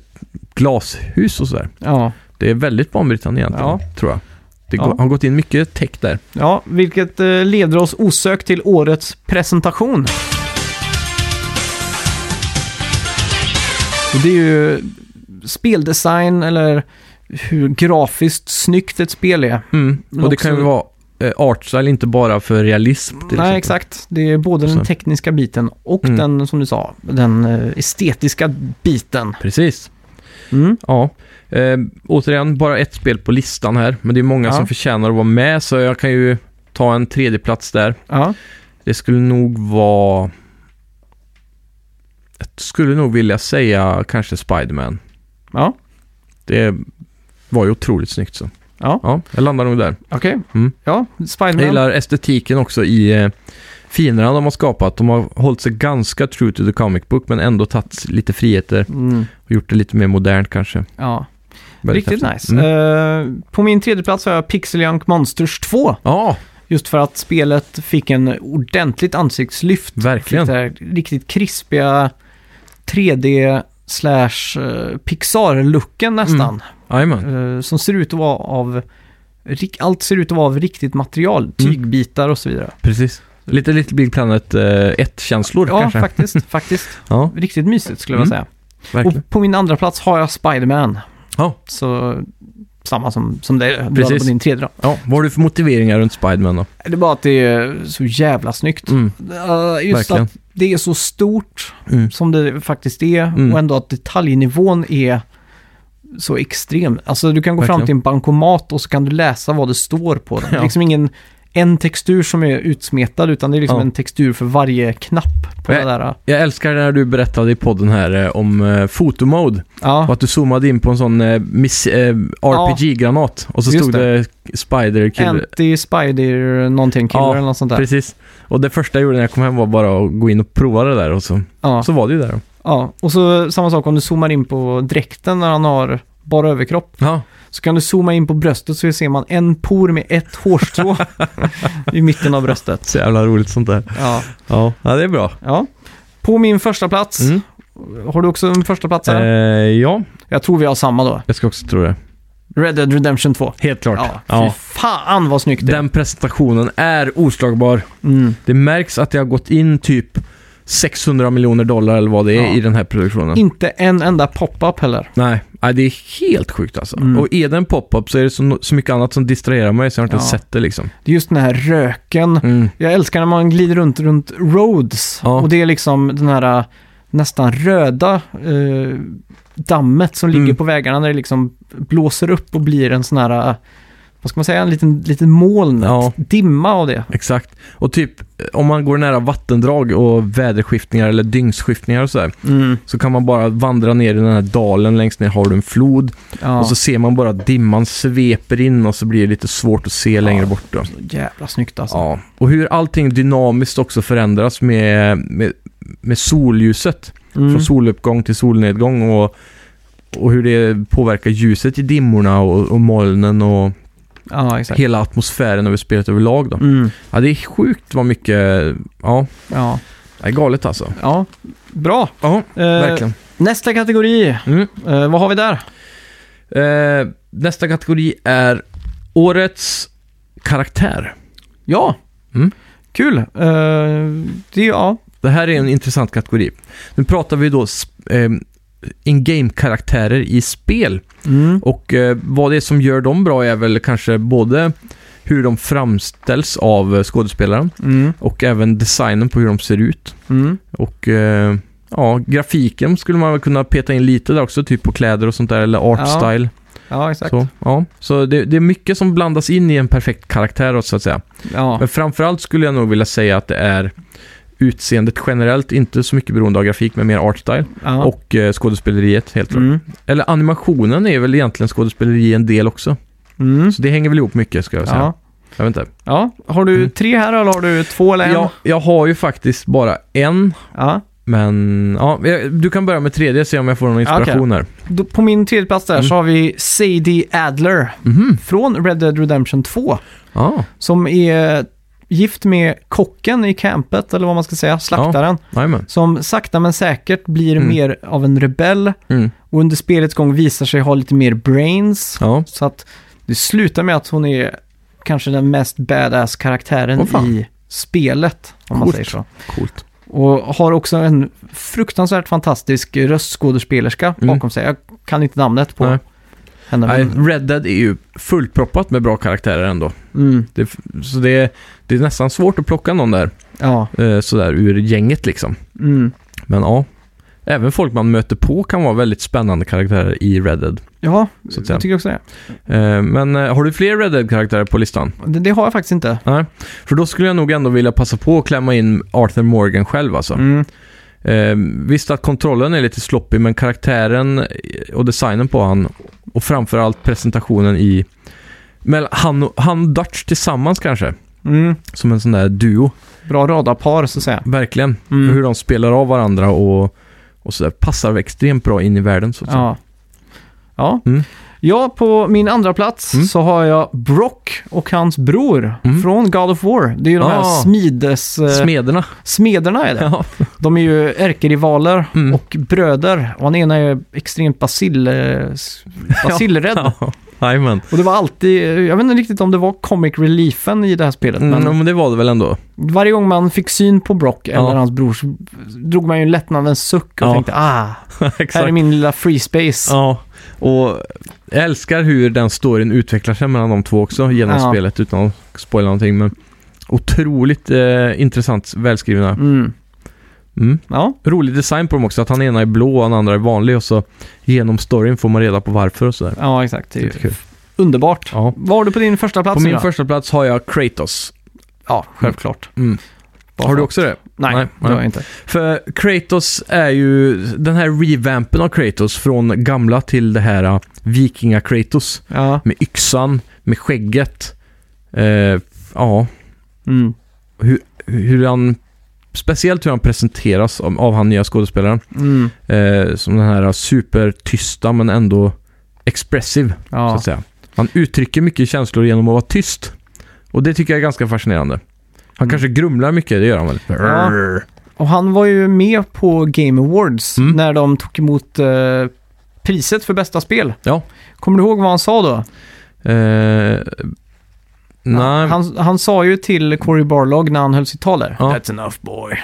B: glashus och sådär.
A: ja.
B: Det är väldigt banbrytande egentligen,
A: Ja.
B: tror jag. Det
A: Ja.
B: går, har gått in mycket tech där.
A: Ja, vilket eh, leder oss osökt till årets presentation. Och det är ju speldesign eller hur grafiskt snyggt ett spel är.
B: Mm.
A: Men
B: Och det
A: också-
B: kan ju vara eh, artstyle, inte bara för realism. Till
A: Nej,
B: exempel.
A: exakt. Det är både den
B: liksom- Så.
A: tekniska biten och
B: Mm.
A: den, som du sa, den eh, estetiska biten.
B: Precis.
A: Mm.
B: Ja. Eh, återigen, bara ett spel på listan här, men det är många
A: Ja.
B: som förtjänar att vara med, så jag kan ju ta en tredje plats där.
A: Ja.
B: Det skulle nog vara... Jag skulle nog vilja säga kanske Spiderman.
A: Ja,
B: Det var ju otroligt snyggt så.
A: Ja.
B: ja jag landar nog där.
A: okej.
B: Mm.
A: Ja, Spiderman.
B: Jag gillar estetiken också i eh, fienderna de har skapat. De har hållit sig ganska true to the comic book men ändå tagit lite friheter
A: Mm.
B: och gjort det lite mer modernt kanske.
A: Ja,
B: Väldigt
A: riktigt
B: häftigt.
A: nice.
B: Mm.
A: Eh, på min tredje plats har jag Pixel Junk Monsters 2.
B: Ja,
A: Just för att spelet fick en ordentligt ansiktslyft.
B: verkligen.
A: Fick det här riktigt krispiga 3D slash eh, Pixar-looken nästan.
B: Jajamän.
A: Eh, Som ser ut att vara av, rik- allt ser ut att vara av riktigt material,
B: Mm.
A: tygbitar och så vidare.
B: Precis. Lite Little Big Planet 1-känslor
A: Ja,
B: kanske.
A: faktiskt, faktiskt.
B: Ja,
A: Riktigt mysigt skulle jag
B: Mm,
A: säga.
B: verkligen.
A: Och på min andra plats har jag Spiderman.
B: Ja.
A: Så samma som, som det du hade
B: Precis.
A: på din tredje då.
B: Ja, vad har du för motiveringar runt Spiderman då?
A: Det är bara att det är så jävla snyggt.
B: Mm.
A: Eh, Just
B: Verkligen.
A: att det är så stort.
B: Mm.
A: som det faktiskt är
B: Mm.
A: och ändå att detaljnivån är så extrem. Alltså du kan gå fram
B: Verkligen.
A: till en bankomat och så kan du läsa vad det står på den.
B: Ja.
A: Liksom ingen en textur som är utsmetad utan det är liksom
B: Ja.
A: en textur för varje knapp på
B: Nej.
A: det där.
B: Jag älskar när du berättade i podden här eh, om eh, fotomode. Och
A: Ja,
B: att du zoomade in på en sån eh, miss- eh, RPG-granat. Och så
A: Just
B: stod det, Spider Kill.
A: anti-spider någonting killer
B: Ja,
A: eller något sånt där.
B: Precis. Och det första jag gjorde när jag kom hem var bara att gå in och prova det där. Och så,
A: Ja,
B: så var det ju där.
A: ja, och så samma sak om du zoomar in på dräkten när han har bara överkropp.
B: Ja.
A: Så kan du zooma in på bröstet så ser man en por med ett hårstrå i mitten av bröstet.
B: Så jävla roligt sånt där.
A: Ja,
B: Ja, ja det är bra.
A: ja. På min första plats
B: Mm.
A: Har du också en första plats här?
B: Eh, ja,
A: Jag tror vi har samma då.
B: jag ska också tro det.
A: Red Dead Redemption 2.
B: Helt klart.
A: Ja, fy
B: Ja.
A: fan vad snyggt det är.
B: Den presentationen är oslagbar.
A: Mm.
B: Det märks att det har gått in typ 600 miljoner dollar eller vad det är
A: Ja.
B: i den här produktionen.
A: Inte en enda pop-up heller.
B: Nej, nej, det är helt sjukt alltså.
A: Mm.
B: Och är det en pop-up så är det så, så mycket annat som distraherar mig så jag har inte
A: Ja.
B: ens sett det liksom.
A: Det är just den här röken.
B: Mm.
A: Jag älskar när man glider runt runt roads.
B: Ja.
A: Och det är liksom den här äh, nästan röda eh, dammet som ligger
B: Mm.
A: på vägarna när det liksom blåser upp och blir en sån här, äh, vad ska man säga, en liten, liten moln.
B: Ja.
A: Dimma av det.
B: Exakt. Och typ eh, om man går nära vattendrag och väderskiftningar eller dygnsskiftningar och sådär.
A: Mm.
B: Så kan man bara vandra ner i den här dalen, längst ner har du en flod.
A: Ja.
B: Och så ser man bara att dimman sveper in och så blir det lite svårt att se längre bort. Då.
A: Jävla snyggt alltså.
B: Ja. Och hur allting dynamiskt också förändras med, med, med solljuset.
A: Mm.
B: Från soluppgång till solnedgång och, och hur det påverkar ljuset i dimmorna och, och molnen och
A: ja, exakt.
B: hela atmosfären över spelet överlag. Då.
A: Mm.
B: Ja, det är sjukt vad mycket... Ja,
A: Ja.
B: det är galet alltså.
A: Ja, bra.
B: Ja,
A: Eh,
B: verkligen.
A: nästa kategori,
B: Mm.
A: eh, vad har vi där?
B: Eh, nästa kategori är Årets karaktär.
A: Ja,
B: Mm.
A: kul. Eh, det, ja.
B: Det här är en intressant kategori. Nu pratar vi då sp- eh, in-game-karaktärer i spel.
A: Mm.
B: Och eh, vad det är som gör dem bra är väl kanske både hur de framställs av eh, skådespelaren
A: Mm.
B: och även designen på hur de ser ut.
A: Mm.
B: Och eh, ja, grafiken skulle man väl kunna peta in lite där också, typ på kläder och sånt där, eller art
A: Ja,
B: style.
A: Ja, exakt.
B: Så, ja. så det, det är mycket som blandas in i en perfekt karaktär då, så att säga.
A: Ja.
B: Men framförallt skulle jag nog vilja säga att det är utseendet generellt, inte så mycket beroende av grafik, men mer art style.
A: Ja.
B: Och eh, skådespeleriet helt klart.
A: mm.
B: Eller animationen är väl egentligen skådespeleri en del också.
A: Mm.
B: Så det hänger väl ihop mycket ska jag säga.
A: Ja.
B: Jag vet inte.
A: ja, har du
B: Mm.
A: tre här eller har du två eller en?
B: Jag, jag har ju faktiskt bara en,
A: Ja.
B: men ja, jag- du kan börja med tredje och se om jag får någon
A: Ja, okej.
B: inspiration här.
A: Då, på min tredje plats där
B: Mm.
A: så har vi Sadie Adler
B: Mhm.
A: från Red Dead Redemption 2.
B: Ja,
A: Som är gift med kocken i campet, eller vad man ska säga, slaktaren.
B: jajamän.
A: Som sakta men säkert blir
B: Mm.
A: mer av en rebell.
B: Mm.
A: Och under spelets gång visar sig ha lite mer brains.
B: Ja,
A: Så att det slutar med att hon är kanske den mest badass karaktären
B: Åh, fan.
A: i spelet. Om man
B: Coolt.
A: säger så.
B: coolt.
A: Och har också en fruktansvärt fantastisk röstskådespelerska
B: Mm.
A: bakom sig. Jag kan inte namnet på
B: Nej.
A: henne.
B: Nej,
A: men-
B: Red Dead är ju fullproppat med bra karaktärer ändå.
A: Mm,
B: Det, så det, det är nästan svårt att plocka någon där,
A: ja.
B: eh, sådär ur gänget liksom.
A: Mm.
B: Men ja, även folk man möter på kan vara väldigt spännande karaktärer i Red Dead.
A: Ja,
B: Så att säga.
A: jag tycker också det.
B: Eh, Men eh, har du fler Red Dead-karaktärer på listan?
A: det. Det har jag faktiskt inte.
B: Nej. För då skulle jag nog ändå vilja passa på att klämma in Arthur Morgan själv alltså.
A: Mm.
B: Eh, visst att kontrollen är lite sloppy, men karaktären eh, och designen på han och framförallt presentationen i... Men han, och- han och Dutch tillsammans kanske,
A: Mm.
B: som en sån där duo.
A: Bra radarpar så att säga.
B: Verkligen.
A: Mm.
B: Hur de spelar av varandra och, och sådär. Passar extremt bra in i världen så att säga.
A: Ja. Ja.
B: Mm.
A: ja, på min andra plats
B: Mm.
A: så har jag Brock och hans bror
B: Mm.
A: från God of War. Det är ju de här
B: Ah.
A: smides... eh,
B: Smederna.
A: smederna är det.
B: Ja.
A: De är ju ärkerivaler
B: Mm.
A: och bröder. Och den ena är extremt basil, eh, s- basilrädd.
B: Ja. Jajamän.
A: Och det var alltid, eh, jag vet inte riktigt om det var comic reliefen i det här spelet,
B: Mm,
A: men
B: men det var det väl ändå.
A: varje gång man fick syn på Brock eller
B: Ja.
A: hans bror så drog man ju en lättnadens suck och
B: Ja.
A: tänkte ah,
B: Exakt.
A: här är min lilla free space.
B: Ja, och jag älskar hur den storyn utvecklar sig mellan de två också genom
A: Ja.
B: spelet utan att spoila någonting. Men otroligt eh, intressant välskrivna.
A: Mm.
B: Mm.
A: Ja,
B: Rolig design på dem också, att han ena är blå och han andra är vanlig och så genom storyn får man reda på varför och sådär.
A: ja exakt. Det är ju
B: Jättekul.
A: underbart.
B: Ja.
A: Vad har du på din första plats
B: På min
A: Ira?
B: första plats har jag Kratos
A: Ja, självklart.
B: Mm.
A: Bara
B: Har du
A: för-
B: också det?
A: Nej,
B: Nej,
A: det har
B: nej.
A: jag inte.
B: För Kratos är ju den här revampen av Kratos från gamla till det här eh, Vikinga-Kratos.
A: Ja.
B: Med yxan, med skägget. Eh, ja,
A: Mm.
B: hur han... Speciellt hur han presenteras av, av han nya skådespelaren.
A: Mm.
B: Eh, som den här supertysta men ändå expressiv, så
A: Ja.
B: att säga. Han uttrycker mycket känslor genom att vara tyst. Och det tycker jag är ganska fascinerande. Han
A: Mm.
B: kanske grumlar mycket, det gör han väl?
A: Ja. Och han var ju med på Game Awards
B: Mm.
A: när de tog emot eh, priset för bästa spel.
B: Ja.
A: Kommer du ihåg vad han sa då?
B: Eh, nej.
A: Han, han sa ju till Cory Barlog när han höll sitt tal där.
B: Ja.
A: That's enough boy.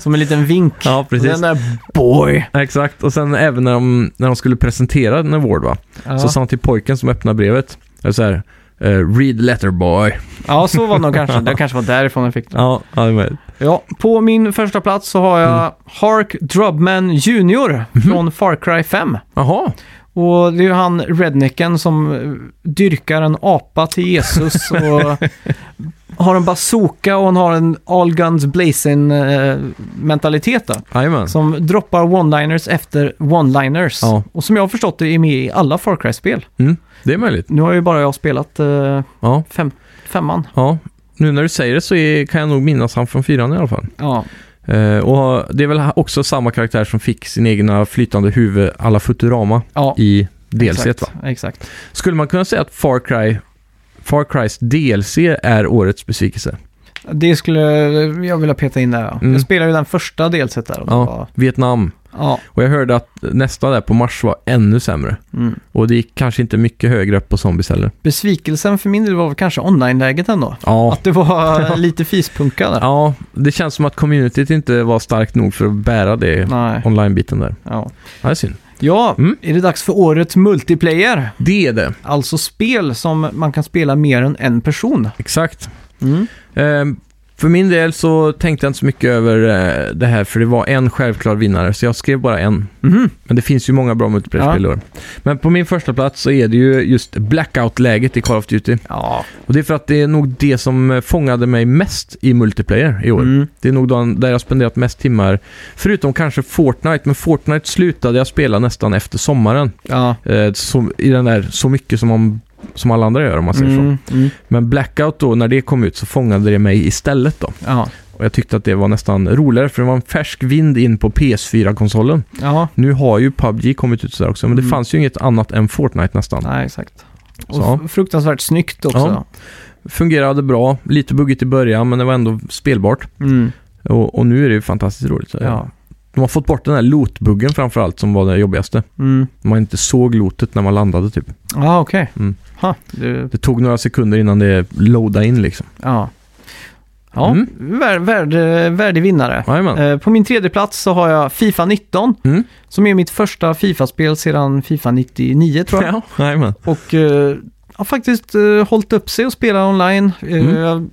A: Som en liten vink.
B: ja,
A: Och Den
B: precis.
A: där boy.
B: Exakt. Och sen även när de, när de skulle presentera en award, va?
A: Ja.
B: Så
A: Så,
B: sa han till pojken som öppnade brevet. eller Så här, eh, read letter boy.
A: ja, så var det nog kanske. Det kanske var därifrån jag fick det.
B: Ja, ja, det var-
A: Ja, på min första plats så har
B: Mm.
A: jag Hark Drubman Junior
B: Mhm.
A: från Far Cry 5.
B: Jaha.
A: Och det är ju han rednecken som eh, dyrkar en apa till Jesus och har en bazooka och han har en all guns blazing eh, mentalitet då.
B: Jajamän.
A: Som droppar one-liners efter one-liners.
B: Ja.
A: Och som jag har förstått det är med i alla Far Cry-spel.
B: Det är möjligt.
A: Nu har ju bara jag spelat eh,
B: Ja.
A: fem, femman.
B: ja. Nu när du säger det så är, kan jag nog minnas han från fyran i alla fall.
A: Ja.
B: Eh, och det är väl också samma karaktär som fick sin egna flytande huvud alla Futurama
A: ja.
B: i DLC va?
A: exakt, Exakt.
B: Skulle man kunna säga att Far Cry Far Crys DLC är årets besvikelse?
A: Det skulle jag vilja peta in där. ja.
B: Mm.
A: Jag spelade ju den första delset där. Och
B: Ja.
A: ja. Var,
B: Vietnam.
A: ja.
B: Och jag hörde att nästa där på Mars var ännu sämre.
A: Mm.
B: Och det gick kanske inte mycket högre upp på zombies heller.
A: Besvikelsen för min del var väl kanske online-läget ändå.
B: Ja.
A: Att det var lite fispunka där.
B: ja, det känns som att communityt inte var starkt nog för att bära det
A: Nej.
B: online-biten där.
A: Ja,
B: Ja, det är synd.
A: ja
B: Mm.
A: är det dags för årets multiplayer?
B: Det är det.
A: Alltså spel som man kan spela mer än en person.
B: Exakt. Ehm, för min del så tänkte jag inte så mycket över eh, det här, för det var en självklar vinnare, så jag skrev bara en.
A: Mhm.
B: Men det finns ju många bra multiplayer-spel i år. Men på min första plats så är det ju just blackout-läget i Call of Duty.
A: Ja.
B: Och det är för att det är nog det som eh, fångade mig mest i multiplayer i år.
A: Mm.
B: Det är nog den där jag spenderat mest timmar, förutom kanske Fortnite, men Fortnite slutade jag spela nästan efter sommaren.
A: Ja.
B: Eh, så, I den där, så mycket som, om, som alla andra gör om man säger så.
A: Mm, mm.
B: Men Blackout då, när det kom ut så fångade det mig istället då.
A: Ja.
B: Och jag tyckte att det var nästan roligare för det var en färsk vind in på PS4-konsolen.
A: ja,
B: Nu har ju PubG kommit ut sådär också, men det
A: Mm.
B: fanns ju inget annat än Fortnite nästan.
A: nej exakt. Och
B: Så.
A: f- fruktansvärt snyggt också.
B: Fungerade bra, lite buggigt i början, men det var ändå spelbart.
A: Mm.
B: Och, och nu är det ju fantastiskt roligt.
A: Ja.
B: De har fått bort den här lootbuggen framför allt som var det jobbigaste.
A: Mm.
B: Man inte såg lootet när man landade typ.
A: Ja, okej.
B: Mm.
A: Ha, du-
B: Det tog några sekunder innan det loadade in liksom.
A: Ja. Ja,
B: Mm.
A: vär, värd, värdig vinnare.
B: Jajamän.
A: Eh, På min tredje plats så har jag Fifa 19,
B: Mm.
A: som är mitt första Fifa-spel sedan Fifa 99 tror jag.
B: Ja, jajamän.
A: Och eh, har faktiskt eh, hållit upp sig och spelat online. Eh,
B: Mm.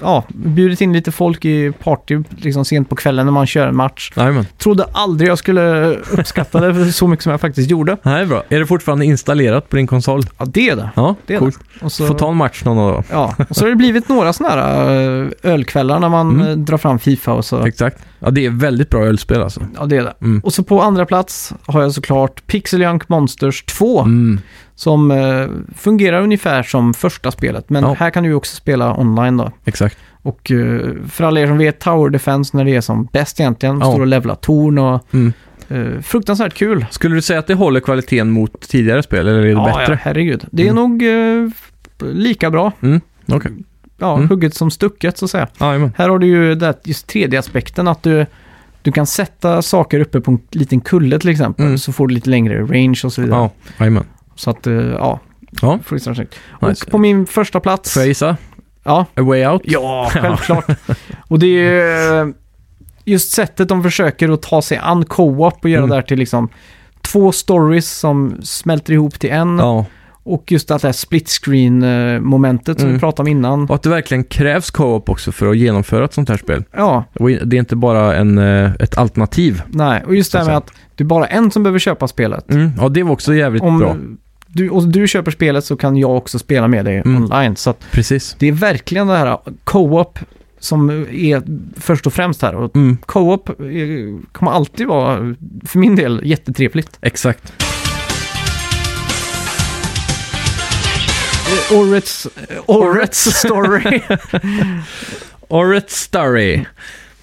A: Ja, bjudit in lite folk i party liksom sent på kvällen när man kör en match.
B: Jajamän.
A: Trodde aldrig jag skulle uppskatta det så mycket som jag faktiskt gjorde.
B: Nej, det är bra. Är det fortfarande installerat på din konsol?
A: Ja, det är det.
B: Ja,
A: Det är
B: coolt.
A: Och så,
B: Få ta en match någon dag.
A: ja, och så har det blivit några sådana här eh, ölkvällar när man
B: Mm.
A: eh, drar fram Fifa och så.
B: Exakt. Ja, det är väldigt bra ölspel alltså.
A: Ja, det är det.
B: Mm.
A: Och så på andra plats har jag såklart Pixel Junk Monsters 2
B: Mm.
A: som eh, fungerar ungefär som första spelet. Men
B: Ja.
A: här kan du ju också spela online då.
B: Exakt.
A: Och eh, för alla er som vet Tower Defense när det är som bäst egentligen,
B: Ja.
A: står och levlar torn och
B: Mm.
A: eh, fruktansvärt kul.
B: Skulle du säga att det håller kvaliteten mot tidigare spel, eller är det
A: ja, ja,
B: bättre?
A: herregud. Det är
B: Mm.
A: nog eh, lika bra.
B: Ja. Okej.
A: Ja,
B: Mm.
A: hugget som stucket så att säga.
B: Jajamän.
A: Här har du ju det här, just tredje aspekten att du, du kan sätta saker uppe på en liten kulle till exempel.
B: Mm.
A: Så får du lite längre range och så vidare.
B: Ja, jajamän.
A: Så att, eh, ja.
B: Ja.
A: Fruktansvärt snyggt.
B: Nice.
A: Och på min första plats.
B: Får jag gissa?
A: Ja,
B: A Way Out?
A: Ja, självklart. Och det är ju eh, just sättet de försöker att ta sig an co-op och göra
B: Mm.
A: det här till liksom två stories som smälter ihop till en.
B: Ja.
A: Och just att det här split screen-momentet som
B: Mm.
A: vi pratade om innan.
B: Och att det verkligen krävs co-op också för att genomföra ett sånt här spel.
A: Ja,
B: Och det är inte bara en, eh, ett alternativ.
A: nej. Och just det här med att det är bara en som behöver köpa spelet.
B: Ja, det var också jävligt
A: Mm. Om
B: Mm, bra.
A: du, och du köper spelet så kan jag också spela med dig
B: Mm.
A: online. Så att
B: Precis.
A: det är verkligen det här co-op som är först och främst här. Och
B: Mm,
A: co-op eh, kommer alltid vara, för min del, jättetrevligt.
B: exakt.
A: Eh, Orrets, eh, Orrets story.
B: Orret Starry.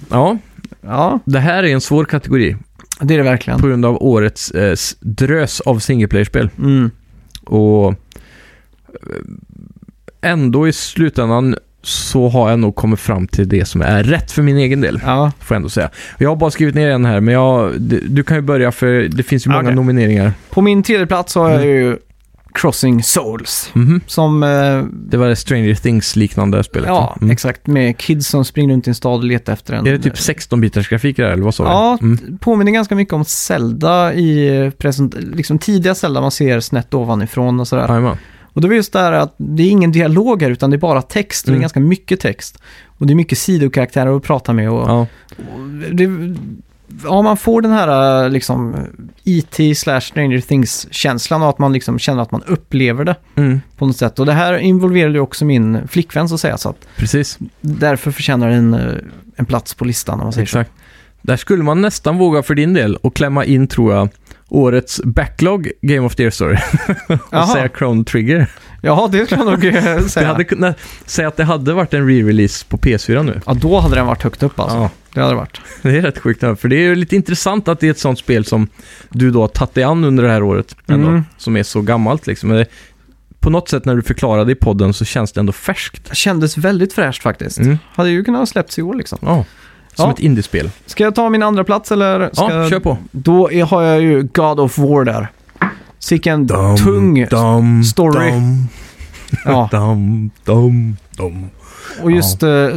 B: Ja,
A: ja,
B: det här är en svår kategori
A: det är det verkligen.
B: på grund av årets eh, s- drös av singleplayerspel.
A: Mm.
B: Och eh, ändå i slutändan så har jag nog kommit fram till det som är rätt för min egen del.
A: Ja,
B: Får jag ändå säga. Jag har bara skrivit ner en här, men jag, d- du kan ju börja för det finns ju
A: Ja,
B: många
A: okej.
B: nomineringar.
A: på min tredje plats har jag ju Crossing Souls.
B: Mhm.
A: Som, eh,
B: Det var det Stranger Things-liknande spelet.
A: ja,
B: Mm.
A: exakt, med kids som springer runt i en stad och letar efter en.
B: Är det typ 16-bitars grafik där, eller vad sa du?
A: Ja,
B: Mm.
A: påminner ganska mycket om Zelda i eh, present, liksom tidiga Zelda man ser snett ovanifrån och sådär.
B: Jajamän.
A: Och det var just det här att det är ingen dialog här utan det är bara text och det
B: Mm.
A: är ganska mycket text. Och det är mycket sidokaraktärer att prata med och,
B: Ja.
A: och det, ja, man får den här eh, liksom IT slash Stranger Things-känslan och att man liksom känner att man upplever det
B: Mm.
A: på något sätt. Och det här involverade ju också min flickvän så att säga så att
B: Precis.
A: därför förtjänar den eh, en plats på listan om man säger
B: Exakt. Där skulle man nästan våga för din del och klämma in, tror jag, årets backlog Game of the Year Story.
A: så.
B: och säga
A: Jaha.
B: Crown Trigger.
A: Ja, det skulle jag nog eh,
B: Det
A: säga.
B: hade, kunnat- säg att det hade varit en re-release på PS4 nu.
A: Ja, då hade den varit högt upp alltså.
B: Ja,
A: Det hade det varit.
B: det är rätt sjukt. det här, För det är ju lite intressant att det är ett sånt spel som du då har tagit dig an under det här året. Ändå,
A: Mm.
B: Som är så gammalt liksom. Men det, på något sätt när du förklarade i podden så känns det ändå färskt.
A: Kändes väldigt fräscht faktiskt.
B: Mm.
A: Hade ju kunnat ha släppts i år liksom.
B: Ja. Som
A: Ja.
B: ett indiespel.
A: Ska jag ta min andra plats eller? Ska
B: Ja, kör på.
A: Då är, har jag ju God of War där. Sicken tung...
B: dum,
A: story.
B: Dum,
A: Ja,
B: dum, dum, dum.
A: och just eh,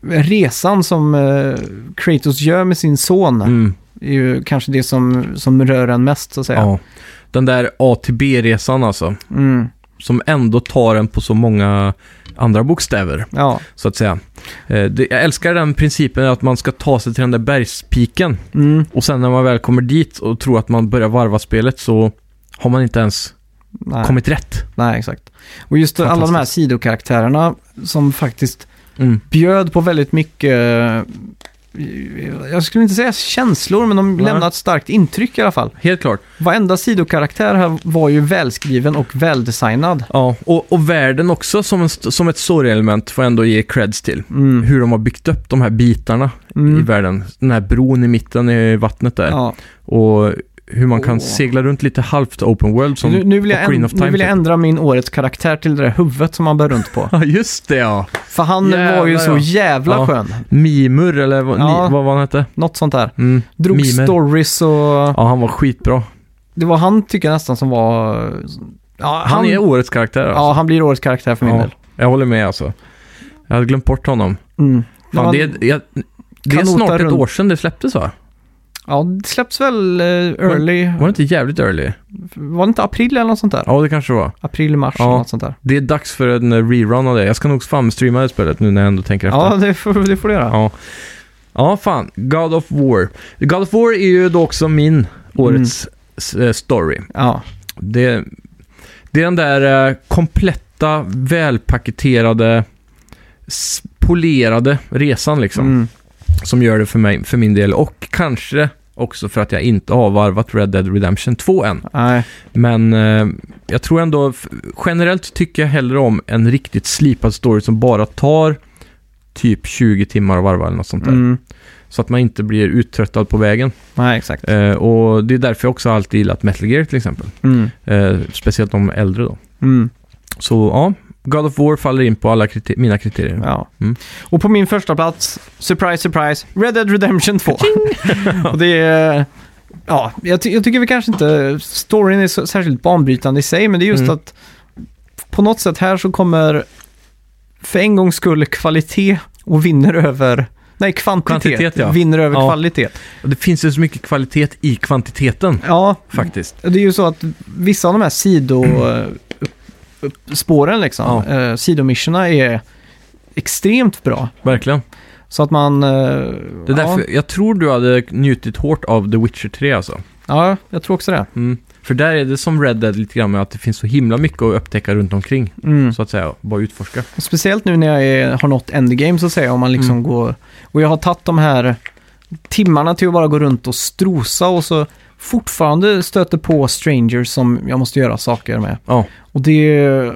A: resan som eh, Kratos gör med sin son
B: Mm.
A: är ju kanske det som, som rör en mest så att säga.
B: Ja. Den där A till B-resan alltså.
A: Mm,
B: Som ändå tar en på så många andra bokstäver,
A: ja.
B: så att säga. Eh, det, jag älskar den principen att man ska ta sig till den där bergspiken.
A: Mm,
B: Och sen när man väl kommer dit och tror att man börjar varva spelet så har man inte ens
A: nej.
B: kommit rätt.
A: nej, exakt. Och just alla de här
B: Fantastiskt.
A: sidokaraktärerna som faktiskt
B: Mm.
A: bjöd på väldigt mycket, eh, jag skulle inte säga känslor, men de
B: Nej.
A: lämnade ett starkt intryck i alla fall.
B: Helt klart.
A: Varenda sidokaraktär här var ju välskriven och väldesignad.
B: Ja, och, och världen också som, en, st- som ett story-element får jag ändå ge creds till.
A: Mm.
B: Hur de har byggt upp de här bitarna i
A: Mm.
B: världen. Den här bron i mitten i vattnet där.
A: Ja.
B: Och hur man kan
A: Åh.
B: segla runt lite halvt open world som...
A: Nu, nu, vill jag
B: Ocarina
A: änd-
B: of Time,
A: nu vill jag
B: typ.
A: ändra min årets karaktär till det där huvudet som han bär runt på.
B: Ja, just det ja.
A: För han
B: Jävlar,
A: var ju så
B: ja.
A: jävla
B: Ja.
A: skön.
B: Mimur eller vad,
A: Ja.
B: ni, vad var han hette?
A: Något sånt där.
B: Mm.
A: Drog
B: Mimer.
A: stories och...
B: Ja, han var skitbra.
A: Det var han tycker jag nästan som var... Ja,
B: Han, är årets karaktär alltså.
A: Ja, han blir årets karaktär för min
B: Ja,
A: del.
B: Jag håller med alltså. Jag hade glömt bort honom.
A: Mm.
B: Fan,
A: Men-
B: det är, jag, det är
A: Kanota
B: snart ett
A: runt.
B: år sedan det släpptes va?
A: Ja, det släpps väl eh, early.
B: Var det inte jävligt early?
A: Var det inte april eller något sånt där?
B: Ja, det kanske det var.
A: April, mars
B: Ja.
A: eller något sånt där.
B: Det är dags för en eh, rerun av det. Jag ska nog famstreama det spelet nu när jag ändå tänker efter.
A: Ja, det får, det får du göra.
B: Ja. Ja, fan. God of War. God of War är ju då också min årets s-
A: Mm.
B: eh, story.
A: Ja.
B: Det, det är den där eh, kompletta, välpaketerade, s- polerade resan liksom.
A: Mm.
B: Som gör det för, mig, för min del. Och kanske också för att jag inte har varvat Red Dead Redemption 2 än.
A: Nej.
B: Men eh, jag tror ändå, f- generellt tycker jag hellre om en riktigt slipad story som bara tar typ 20 timmar att varva eller något sånt där.
A: Mm.
B: Så att man inte blir uttröttad på vägen.
A: Nej, exakt.
B: Eh, och det är därför jag också alltid gillat Metal Gear till exempel.
A: Mm.
B: Eh, speciellt de äldre då.
A: Mm.
B: Så ja, God of War faller in på alla kriter- mina kriterier.
A: Ja.
B: Mm.
A: Och på min första plats, surprise, surprise, Red Dead Redemption 2. Och det är... Ja, jag, ty- jag tycker vi kanske inte... Storyn är så, särskilt banbrytande i sig, men det är just
B: Mm.
A: att på något sätt här så kommer för en gångs skull kvalitet och vinner över... Nej, kvantitet,
B: Kvantitet, ja.
A: vinner över
B: Ja.
A: kvalitet.
B: Och det finns ju så mycket kvalitet i kvantiteten
A: Ja,
B: faktiskt.
A: Det är ju så att vissa av de här sidospåren, liksom,
B: Ja.
A: eh, sidomissionerna är extremt bra.
B: Verkligen.
A: Så att man... eh,
B: Det är
A: ja,
B: därför, jag tror du hade njutit hårt av The Witcher 3 alltså.
A: ja, jag tror också det.
B: Mm. För där är det som Red Dead lite grann med att det finns så himla mycket att upptäcka runt omkring.
A: Mm.
B: Så att säga, och bara utforska.
A: Speciellt nu när jag är, har nått endgame så att säga, om man liksom
B: Mm.
A: går... Och jag har tagit de här timmarna till att bara gå runt och strosa och så fortfarande stöter på strangers som jag måste göra saker med.
B: Ja.
A: Och det är eh,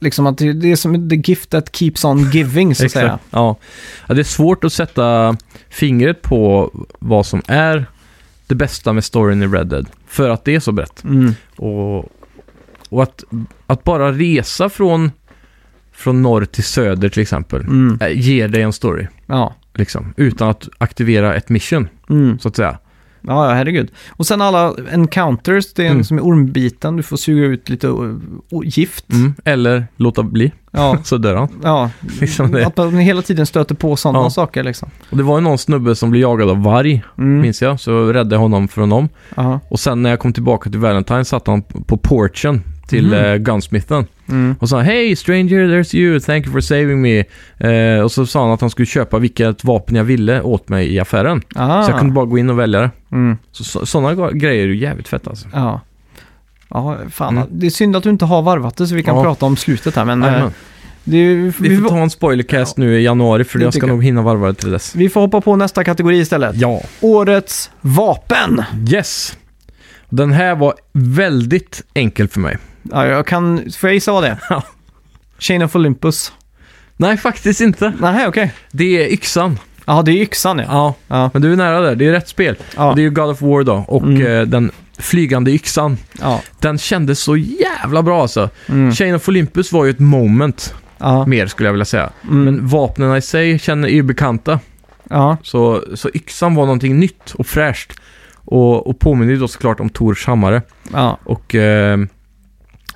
A: liksom att det, det är som the gift that keeps on giving så att säga.
B: Ja. ja, det är svårt att sätta fingret på vad som är det bästa med storyn i Red Dead. För att det är så brett.
A: Mm.
B: Och, och att, att bara resa från, från norr till söder till exempel
A: Mm.
B: eh, ger dig en story.
A: Ja.
B: Liksom, utan att aktivera ett mission,
A: Mm.
B: så att säga.
A: Ja, ja, herregud. Och sen alla encounters, det är
B: Mm.
A: en som är ormbiten, du får suga ut lite o- o- gift.
B: Mm. Eller låta bli,
A: Ja,
B: så dör han.
A: ja.
B: Liksom det.
A: Att man hela tiden stöter på sådana
B: Ja.
A: saker liksom.
B: Och det var ju någon snubbe som blev jagad av varg,
A: Mm.
B: minns jag. Så jag räddade honom från dem.
A: Aha.
B: Och sen när jag kom tillbaka till Valentine satt han på porchen till
A: Mhm.
B: eh, Gunsmithen.
A: Mm.
B: Och sa Hey stranger, there's you, thank you for saving me. Eh, och så sa han att han skulle köpa vilket vapen jag ville åt mig i affären.
A: Ah.
B: Så jag kunde bara gå in och välja det.
A: mm.
B: Så- Så, sådana grejer är ju jävligt fett alltså.
A: Ja. Ja, fan.
B: Mm.
A: Det är synd att du inte har varvat det så vi kan
B: Ja.
A: prata om slutet här. Men eh,
B: Jajamän.
A: det är, ju-
B: Vi
A: vi,
B: får
A: får
B: ta en spoilercast nu i januari för
A: Det
B: jag ska
A: tycker jag.
B: nog hinna varva det till dess.
A: vi får hoppa på nästa kategori istället.
B: Ja.
A: Årets vapen!
B: Yes! Den här var väldigt enkel för mig.
A: Ja, jag kan, får jag gissa vad det är?
B: Ja.
A: Chain of Olympus.
B: Nej, faktiskt inte.
A: Nej, okej.
B: Det är yxan.
A: Ja, det är yxan ja.
B: Ja,
A: Ja,
B: men du är nära där. Det är rätt spel.
A: ja,
B: Det är ju God of War då och
A: Mm.
B: eh, den flygande yxan.
A: ja.
B: Den kändes så jävla bra alltså.
A: Mm.
B: Chain of Olympus var ju ett moment
A: ja.
B: mer skulle jag vilja säga.
A: Mm.
B: Men vapnen i sig känner är ju bekanta.
A: ja.
B: Så, så yxan var någonting nytt och fräscht. Och, och påminner ju då såklart om Tors hammare.
A: Ja,
B: Och eh,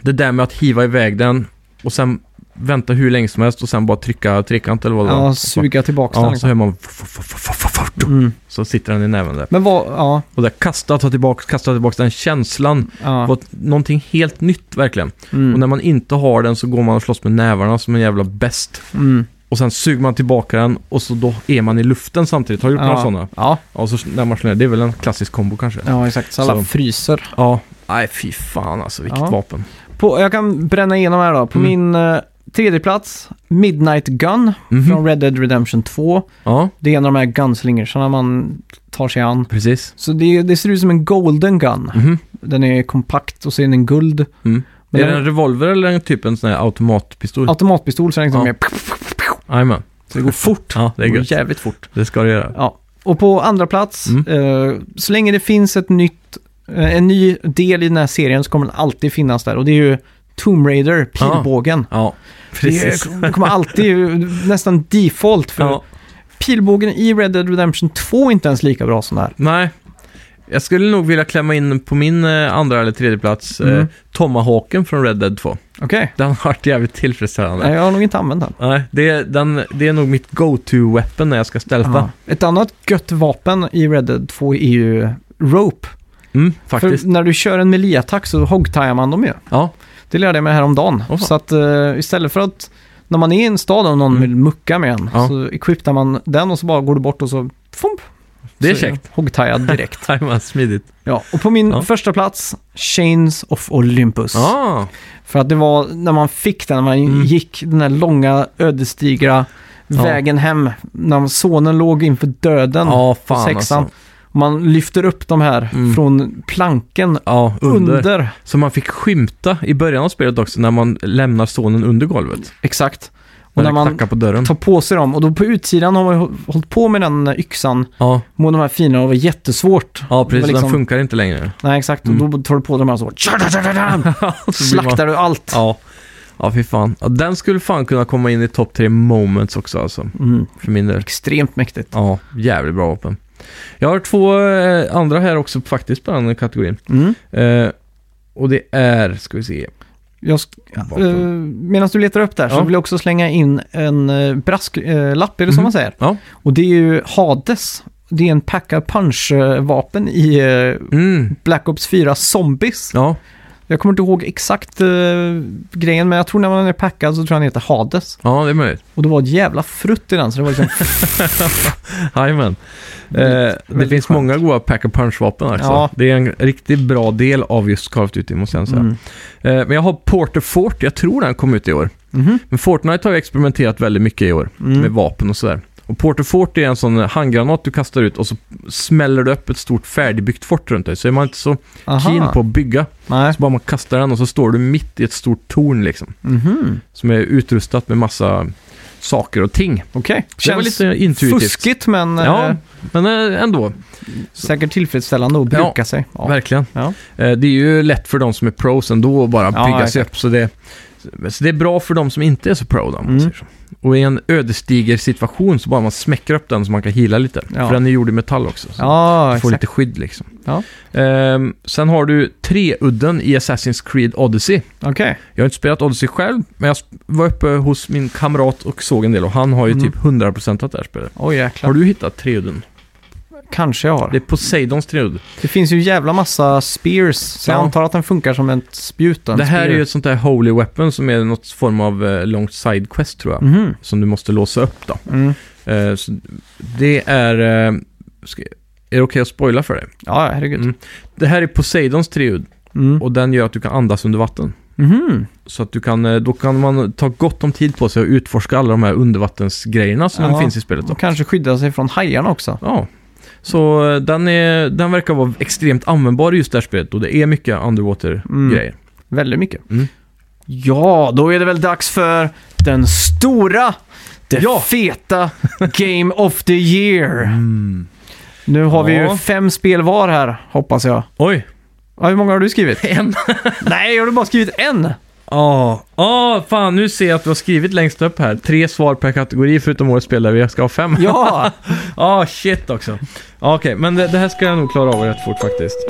B: det där med att hiva iväg den och sen vänta hur länge som helst och sen bara trycka trekant eller vad det
A: ja
B: var.
A: suga tillbaka den.
B: Ja, så
A: liksom.
B: hör man
A: Mm.
B: så sitter den i näven där.
A: Men vad, ja,
B: Och där kasta, ta tillbaka, kasta tillbaka den känslan.
A: ja.
B: var någonting helt nytt verkligen. Och när
A: Mm.
B: man inte har den så går man och slåss med nävarna som en jävla bäst.
A: Mm.
B: Och sen suger man tillbaka den och så då är man i luften samtidigt. Har du gjort några sådana?
A: Ja.
B: Ja, så när man slår ner. Det är väl en klassisk kombo kanske?
A: ja, exakt. Så alla
B: Så.
A: fryser.
B: Ja. Nej, fy fan alltså. Vilket
A: Ja.
B: vapen.
A: På, jag kan bränna igenom här då. På
B: Mm.
A: min eh, tredje plats, Midnight Gun
B: Mhm.
A: från Red Dead Redemption 2.
B: Ja,
A: Det är en av de här gunslingersarna man tar sig an.
B: precis.
A: Så det, det ser ut som en golden gun.
B: Mhm.
A: Den är kompakt och så är den guld.
B: Mm.
A: Men
B: är det
A: den-
B: en revolver eller en typ en sån här automatpistol?
A: Automatpistol så den liksom
B: Ja.
A: ja.
B: Jajamän.
A: Så det går fort.
B: Ja, det är
A: Det går
B: gött.
A: jävligt fort.
B: Det ska det göra.
A: Ja. Och på andra plats,
B: Mm.
A: eh, så länge det finns ett nytt, eh, en ny del i den här serien så kommer den alltid finnas där. Och det är ju Tomb Raider,
B: Ja.
A: pilbågen.
B: Ja,
A: Det,
B: precis.
A: är, det kommer alltid nästan default för
B: Ja.
A: pilbågen i Red Dead Redemption 2 är inte ens lika bra som det här.
B: Nej. Jag skulle nog vilja klämma in på min eh, andra eller tredje plats
A: Mm.
B: eh, Tomahawken från Red Dead 2.
A: Okej.
B: Den har varit jävligt tillfredsställande.
A: Nej, Jag har nog inte använt den.
B: Nej, det, den, det är nog mitt go-to-weapon när jag ska stealtha.
A: Ja. Ett annat gött vapen i Red Dead 2 är ju Rope.
B: Mm, faktiskt.
A: För när du kör en melee-attack så hoggtajar man dem ju.
B: Ja,
A: Det lärde jag mig häromdagen.
B: Åh, fan.
A: så att eh, istället för att när man är i en stad och någon
B: Mm.
A: vill mucka med en
B: Ja.
A: så equippar man den och så bara går du bort och så fump,
B: det är
A: så
B: käckt.
A: Hoggtajad direkt.
B: Tajmat smidigt.
A: ja, och på min
B: Ja.
A: första plats, Chains of Olympus.
B: Ja,
A: För att det var när man fick den, när man
B: Mm.
A: gick den här långa ödesdigra
B: Ja.
A: vägen hem. När sonen låg inför döden.
B: ja fan
A: sexan.
B: alltså.
A: Man lyfter upp de här
B: Mm.
A: från planken
B: Ja, under.
A: under.
B: Så man fick skymta i början av spelet också när man lämnar sonen under golvet.
A: Exakt. Och
B: Och när
A: när
B: det
A: man
B: knackar på dörren.
A: Tar på sig dem och då på utsidan har man ju hå- hållit på med den yxan,
B: Ja,
A: med de här fina och det var jättesvårt.
B: ja precis.
A: Det var
B: Den
A: liksom-
B: funkar inte längre.
A: Nej, exakt. Och
B: Mm.
A: då tar du på de här så bara...
B: Så blir man-
A: Slaktar du allt.
B: Ja. Ja, fy fan. Ja, den skulle fan kunna komma in i topp tre moments också alltså.
A: Mm,
B: För min del.
A: extremt mäktigt.
B: Ja, jävligt bra vapen. Jag har två eh, andra här också faktiskt på den här kategorin.
A: Mm.
B: Eh, och det är, ska vi se.
A: Jag sk- Eh,
B: vapen.
A: Medan du letar upp där så
B: Ja.
A: vill jag också slänga in en eh, brasklapp, är det som
B: Mhm.
A: man säger?
B: Ja.
A: Och det är ju Hades. Det är en pack-a-punch-vapen i eh,
B: Mm.
A: Black Ops 4 Zombies.
B: Ja,
A: Jag kommer inte ihåg exakt eh, grejen, men jag tror när man är packad så tror jag han heter Hades.
B: Ja, det är möjligt.
A: Och det var ett jävla frutt i den, så det var liksom...
B: Jajamän. Eh, det
A: väldigt
B: finns
A: skönt.
B: många goda pack and punch-vapen alltså.
A: Ja.
B: Det är en riktigt bra del av just Call of Duty, måste jag säga.
A: Mm.
B: Eh, men jag har Porter Fort, jag tror den kom ut i år.
A: Mhm.
B: Men Fortnite har ju experimenterat väldigt mycket i år.
A: Mm.
B: med vapen och sådär. Och Porter Fort är en sån handgranat du kastar ut och så smäller du upp ett stort färdigbyggt fort runt dig. Så är man inte så
A: Aha.
B: keen på att bygga.
A: Nej.
B: Så bara man kastar den och så står du mitt i ett stort torn liksom.
A: Mhm.
B: Som är utrustat med massa saker och ting.
A: Okej.
B: det var
A: Känns
B: lite intuitivt.
A: fuskigt, men
B: Ja,
A: eh,
B: men eh, ändå.
A: säkert tillfredsställande att
B: Ja,
A: bruka sig. Ja.
B: Verkligen.
A: Ja.
B: Eh, Det är ju lätt för de som är pros ändå att bara
A: Ja,
B: bygga sig upp. Så det, så det är bra för de som inte är så pro då, om man
A: Mm.
B: säger så. Och i en ödesdiger situation så bara man smäcker upp den så man kan hila lite.
A: Ja.
B: För den är gjord i metall också. Så
A: Ja,
B: Du får
A: exakt.
B: lite skydd liksom.
A: Ja.
B: Ehm, sen har du treudden i Assassin's Creed Odyssey.
A: Okej.
B: Jag har inte spelat Odyssey själv, men jag sp- var uppe hos min kamrat och såg en del och han har ju
A: Mm.
B: typ 100% att det här spelet.
A: Oj, jäklar.
B: Har du hittat treudden?
A: Kanske jag har.
B: Det är
A: Det...
B: Poseidons treudd.
A: finns ju jävla massa spears, så jag
B: Ja.
A: antar att den funkar som ett spjut. då, en
B: Det här
A: spear.
B: är ju ett sånt där holy weapon som är något form av eh, långt side quest tror jag.
A: Mhm.
B: Som du måste låsa upp då.
A: Mm.
B: Eh, så det är... eh, ska, är det okej att spoila för dig?
A: Ja, ja, herregud.
B: Mm. Det här är Poseidons treudd
A: Mm.
B: och den gör att du kan andas under vatten.
A: Mhm.
B: Så att du kan, eh, då kan man ta gott om tid på sig att utforska alla de här undervattensgrejerna som
A: Ja.
B: finns i spelet. Då.
A: Och kanske skydda sig från hajarna också.
B: Ja. Så eh, den, är, den verkar vara extremt användbar i just det här spelet och det är mycket
A: Mm.
B: underwater-grejer.
A: Väldigt mycket.
B: Mm.
A: Ja, då är det väl dags för den stora, det
B: Ja.
A: feta Game of the Year. Nu har vi
B: Ja.
A: ju fem spel var här, hoppas jag.
B: Oj!
A: Ja, hur många har du skrivit?
B: En!
A: Nej, jag har bara skrivit en.
B: Ja, oh, fan nu ser jag att du har skrivit längst upp här. Tre svar per kategori förutom årets spel där vi ska ha fem.
A: Ja,
B: Ah, shit också. Ja, Okej, men det, det här ska jag nog klara av rätt fort faktiskt.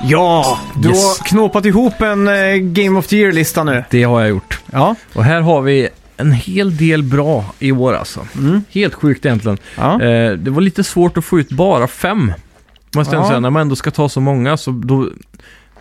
A: ja. Du
B: Yes.
A: har knåpat ihop en eh, Game of the Year-lista nu.
B: Det har jag gjort.
A: Ja.
B: Och här har vi en hel del bra i år alltså.
A: Mm.
B: Helt sjukt egentligen.
A: ja.
B: Eh, det var lite svårt att få ut bara fem. Måste jag
A: Ja.
B: säga, när man ändå ska ta så många så då...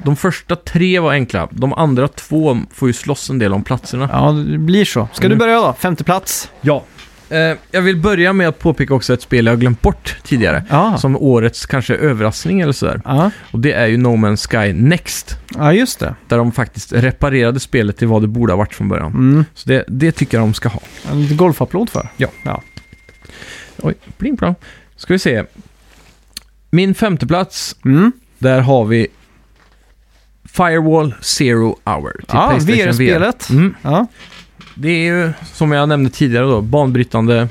B: De första tre var enkla. De andra två får ju slåss en del om platserna.
A: Ja, det blir så. Ska
B: Mm.
A: du börja då? Femte plats.
B: Ja. Eh, jag vill börja med att påpeka också ett spel jag har glömt bort tidigare.
A: Ja.
B: Som årets kanske överraskning eller sådär.
A: Ja.
B: Och det är ju No Man's Sky Next.
A: ja, just det.
B: Där de faktiskt reparerade spelet till vad det borde ha varit från början.
A: Mm.
B: Så det, det tycker jag de ska ha.
A: En liten golfapplåd för.
B: Oj, pling plong. Ska vi se. Min femte plats
A: Mm.
B: Där har vi Firewall Zero Hour till
A: Ja,
B: Playstation
A: VR-spelet.
B: Mm.
A: Ja.
B: Det är ju, som jag nämnde tidigare då, banbrytande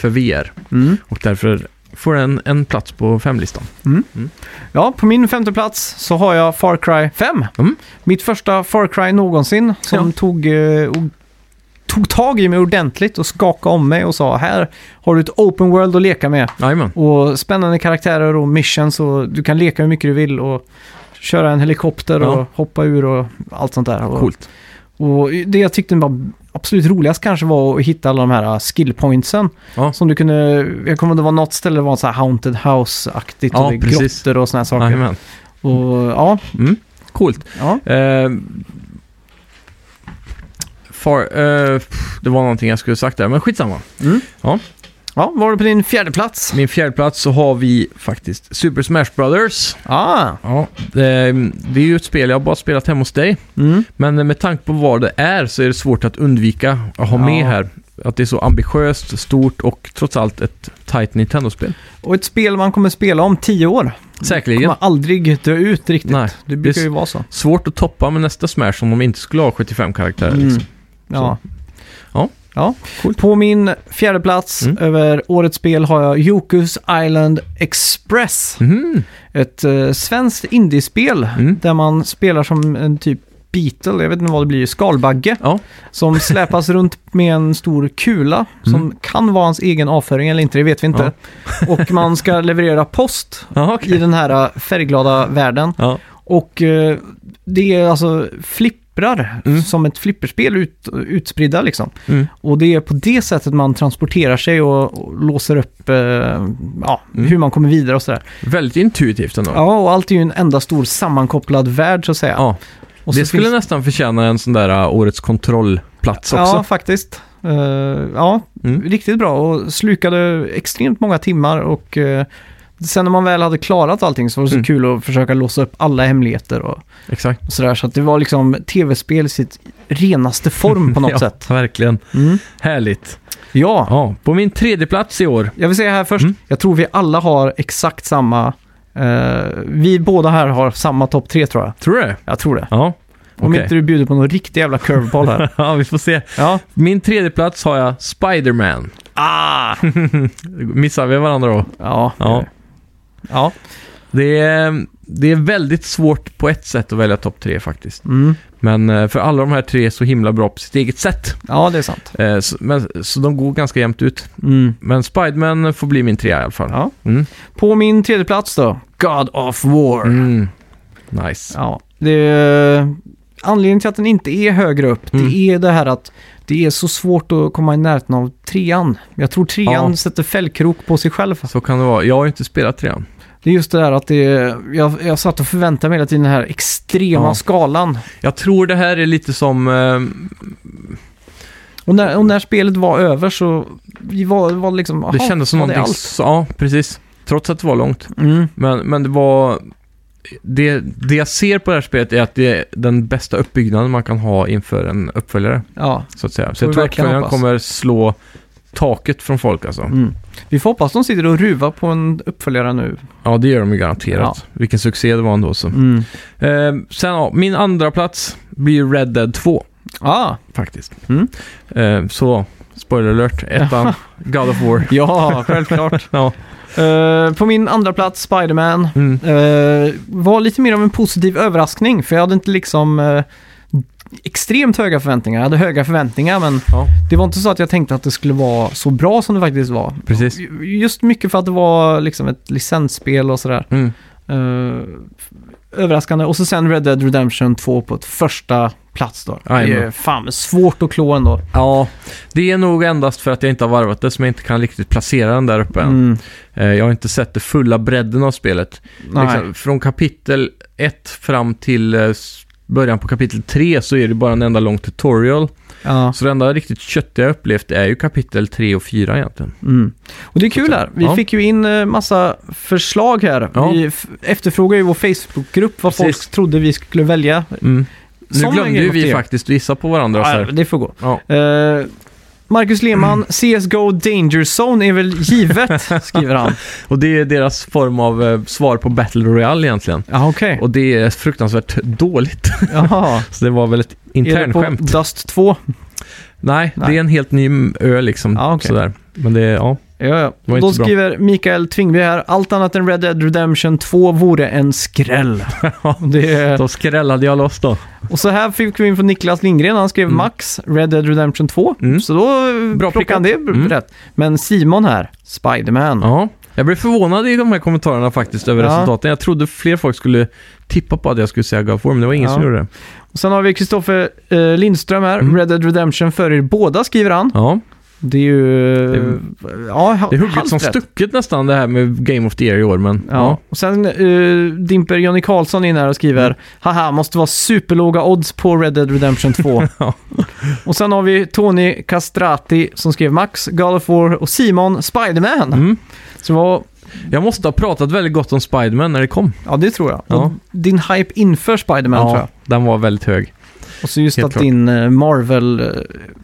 B: för VR.
A: Mm.
B: Och därför får den en plats på femlistan.
A: Ja, på min femte plats så har jag Far Cry 5.
B: Mm.
A: Mitt första Far Cry någonsin som
B: Ja.
A: tog, eh, och, tog tag i mig ordentligt och skakade om mig och sa här har du ett open world att leka med.
B: Jajamän.
A: Och spännande karaktärer och missions och du kan leka hur mycket du vill och köra en helikopter
B: Ja.
A: och hoppa ur och allt sånt där. Och,
B: Coolt.
A: och det jag tyckte var absolut roligast kanske var att hitta alla de här skillpointsen.
B: Ja.
A: Som du kunde, jag kommer ihåg det var något ställe det var så här haunted house-aktigt
B: Ja,
A: och det är
B: precis.
A: grottor och såna här saker.
B: Jajamän.
A: Och ja,
B: Mm. Coolt.
A: ja.
B: Eh, far, eh, pff, det var någonting jag skulle sagt där, men skitsamma.
A: Mm. Ja, var du på din fjärde plats?
B: Min fjärde plats så har vi faktiskt Super Smash Brothers.
A: Ah.
B: Ja. Det, det är ju ett spel jag har bara spelat hemma hos dig.
A: Mm.
B: Men med tanke på vad det är så är det svårt att undvika att ha
A: Ja.
B: med här. Att det är så ambitiöst, stort och trots allt ett tight Nintendo-spel.
A: Och ett spel man kommer spela om tio år.
B: Säkerligen.
A: Kommer aldrig dö ut riktigt.
B: Nej,
A: det brukar
B: det-
A: ju vara så.
B: Svårt att toppa med nästa Smash om de inte skulle ha 75 karaktärer. Liksom.
A: Mm. Ja.
B: Ja.
A: ja.
B: Coolt.
A: På min fjärde plats
B: Mm.
A: över årets spel har jag Jokus Island Express.
B: Mhm.
A: Ett eh, svenskt indiespel
B: Mm.
A: där man spelar som en typ Beetle, jag vet inte vad det blir, skalbagge.
B: Ja.
A: Som släpas runt med en stor kula som
B: Mm.
A: kan vara hans egen avföring eller inte, det vet vi inte. Och man ska leverera post
B: Ja,
A: i
B: okej.
A: den här färgglada världen.
B: Ja.
A: Och eh, det är alltså flipp flipprar,
B: Mm.
A: som ett flipperspel ut, utspridda liksom.
B: Mm.
A: Och det är på det sättet man transporterar sig och, och låser upp eh, ja,
B: Mm.
A: hur man kommer vidare och sådär.
B: Väldigt intuitivt ändå.
A: Ja, och allt är ju en enda stor sammankopplad värld så att säga.
B: Ja.
A: och så
B: det skulle
A: finns-
B: nästan förtjäna en sån där äh, årets kontrollplats
A: Ja,
B: också.
A: faktiskt. Eh, ja,
B: Mm.
A: riktigt bra och slukade extremt många timmar och eh, sen när man väl hade klarat allting så var det så
B: Mm.
A: kul att försöka låsa upp alla hemligheter och
B: Exakt.
A: och sådär. Så att det var liksom tv-spel i sitt renaste form på något
B: ja,
A: sätt.
B: Verkligen.
A: Mm.
B: Härligt.
A: Ja,
B: Ja, på min tredje plats i år.
A: jag vill säga här först,
B: Mm.
A: jag tror vi alla har exakt samma, eh, vi båda här har samma topp tre tror jag.
B: Tror du det?
A: Jag tror det.
B: Ja.
A: Om
B: Okej.
A: inte du bjuder på någon riktig jävla curveball här.
B: ja, vi får se.
A: ja.
B: Min tredje plats har jag Spiderman.
A: Ah!
B: Missar vi varandra då?
A: Ja.
B: Ja.
A: Ja.
B: Det är, det är väldigt svårt på ett sätt att välja topp tre faktiskt.
A: Mm.
B: Men eh, för alla de här tre är så himla bra på sitt eget sätt.
A: ja, det är sant.
B: Eh, Så, men, så de går ganska jämnt ut.
A: Mm.
B: Men Spiderman får bli min trea i alla fall.
A: Ja.
B: Mm.
A: På min tredje plats då, God of War.
B: Mm. Nice.
A: Ja, det, anledningen till att den inte är högre upp,
B: Mm.
A: det är det här att det är så svårt att komma i närheten av trean. Jag tror trean
B: Ja.
A: sätter fällkrok på sig själv.
B: Så kan det vara. Jag har ju inte spelat trean.
A: Det är just det där att det, jag, jag satt och förväntade mig hela tiden den här extrema
B: Ja.
A: skalan.
B: Jag tror det här är lite som... Eh,
A: Och när, och när spelet var över så vi var, var liksom,
B: det
A: aha,
B: kändes som
A: var det
B: någonting...
A: allt?
B: s- Ja, precis. Trots att det var långt.
A: Mm.
B: Men, men det var... Det, det jag ser på det här spelet är att det är den bästa uppbyggnaden man kan ha inför en uppföljare,
A: Ja.
B: så att säga. Så
A: Får
B: jag
A: vi
B: tror
A: verkligen
B: uppföljaren
A: hoppas.
B: kommer slå taket från folk alltså.
A: Mm. Vi får hoppas de sitter och ruvar på en uppföljare nu.
B: Ja, det gör de ju garanterat. Vilken succé det var ändå så.
A: Mm.
B: Eh, sen, ja, min andra plats blir ju Red Dead 2,
A: Ah,
B: faktiskt.
A: Mm.
B: Eh, så, spoiler alert, ettan, God of War.
A: ja, självklart.
B: Ja.
A: Eh, på min andra plats, Spiderman.
B: Mm.
A: Eh, var lite mer av en positiv överraskning, för jag hade inte liksom eh, extremt höga förväntningar. Jag hade höga förväntningar, men
B: Ja.
A: det var inte så att jag tänkte att det skulle vara så bra som det faktiskt var.
B: Precis.
A: Just mycket för att det var liksom ett licensspel och sådär.
B: Mm.
A: Eh, överraskande. Och så sen Red Dead Redemption 2 på ett första plats då. Det är
B: Jajamän.
A: fan svårt att klå ändå.
B: Ja, det är nog endast för att jag inte har varvat det som jag inte kan riktigt placera den där uppe än.
A: Mm,
B: Eh, jag har inte sett det fulla bredden av spelet.
A: nej.
B: Liksom, från kapitel 1 fram till eh, s- början på kapitel 3 så är det bara en enda lång tutorial.
A: Ja.
B: Så det enda riktigt köttiga jag upplevt är ju kapitel 3 och 4 egentligen.
A: Mm. Och det är kul här. Vi
B: Ja.
A: fick ju in eh, massa förslag här.
B: Ja.
A: Vi f- efterfrågar ju i vår Facebookgrupp vad
B: Precis.
A: folk trodde vi skulle välja.
B: Mm. Nu
A: Sådana
B: glömde ju
A: grejer
B: vi
A: åt er.
B: faktiskt att gissa på varandra. så
A: Ja,
B: här.
A: det får gå.
B: Ja.
A: Eh, Marcus Lehmann, CSGO Danger Zone är väl givet, skriver han.
B: Och det är deras form av eh, svar på Battle Royale egentligen.
A: Ja, okej.
B: Och det är fruktansvärt dåligt.
A: Jaha.
B: Så det var väl ett
A: Är det på
B: internskämt.
A: Dust 2?
B: Nej,
A: Nej.
B: det är en helt ny m- ö liksom.
A: Ja, okej.
B: sådär. Men det är, ja.
A: Ja, ja.
B: var
A: Då
B: inte så bra.
A: skriver Mikael Tvingby här, allt annat än Red Dead Redemption 2 vore en skräll. det är...
B: Då skrällade jag loss då.
A: Och så här fick vi in från Niklas Lindgren, han skrev
B: Mm.
A: Max, Red Dead Redemption 2.
B: Mm.
A: Så då eh,
B: Bra
A: plockade han det
B: Mm.
A: rätt. Men Simon här, Spiderman.
B: Ja. Jag blev förvånad i de här kommentarerna faktiskt över
A: Ja.
B: resultaten. Jag trodde fler folk skulle tippa på att jag skulle säga God of War, men det var ingen
A: Ja.
B: som gjorde det.
A: Och sen har vi Kristoffer eh, Lindström här,
B: Mm.
A: Red Dead Redemption för er båda skriver han.
B: Ja,
A: Det är ju...
B: Det-
A: ja,
B: det är
A: halvt
B: hugget som
A: rätt.
B: stucket nästan det här med Game of the Year i år, men
A: Ja.
B: ja. Mm.
A: Och sen eh, dimper Jonny Karlsson in här och skriver Haha, måste vara superlåga odds på Red Dead Redemption 2.
B: Ja.
A: Och sen har vi Tony Castrati som skrev Max, God of War och Simon Spiderman.
B: Mm.
A: Så det var
B: Jag måste ha pratat väldigt gott om Spiderman när det kom.
A: Ja, det tror jag.
B: Ja.
A: Och din hype inför Spider-Man tror jag.
B: den var väldigt hög.
A: Och så just
B: Helt
A: att
B: klart.
A: din eh, Marvel, eh,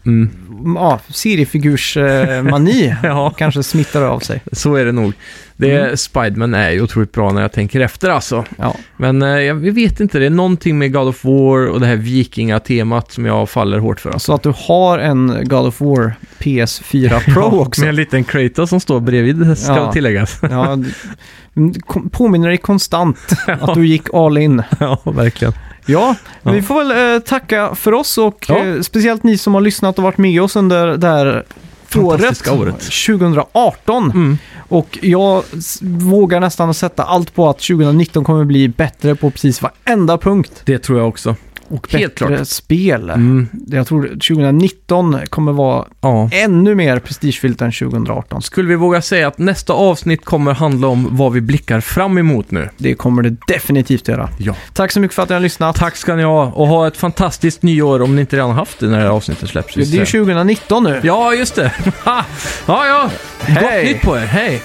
B: Mm.
A: ja, seriefigurs eh, mani
B: Ja.
A: kanske smittar av sig.
B: Så är det nog. Det,
A: Mm.
B: Spiderman är ju otroligt bra när jag tänker efter alltså.
A: Ja.
B: Men eh, jag vet inte, det är någonting med God of War och det här vikingatemat som jag faller hårt för. Alltså.
A: Så att du har en God of War PS4 Pro också.
B: Med en liten Kratos som står bredvid, ska
A: Ja.
B: tilläggas.
A: Ja, d- mm, kom- påminner dig konstant att du gick all in.
B: ja, verkligen.
A: Ja,
B: Ja.
A: vi får väl eh, tacka för oss och
B: Ja.
A: eh, speciellt ni som har lyssnat och varit med oss under det här året,
B: Fantastiska året.
A: 2018.
B: Mm.
A: Och jag s- vågar nästan sätta allt på att 2019 kommer bli bättre på precis varenda punkt.
B: Det tror jag också.
A: Och
B: Helt
A: bättre
B: klart.
A: spel.
B: Mm,
A: Jag tror 2019 kommer vara
B: ja.
A: ännu mer prestigefyllt än 2018.
B: Skulle vi våga säga att nästa avsnitt kommer handla om vad vi blickar fram emot nu?
A: Det kommer det definitivt göra.
B: Ja.
A: Tack så mycket för att ni har lyssnat.
B: Tack ska ni ha och ha ett fantastiskt nyår om ni inte redan haft det när det här avsnittet släpps.
A: Det är ju 2019 nu.
B: Ja, just det. ja, ja. Gott
A: Hej.
B: nytt på er. Hej!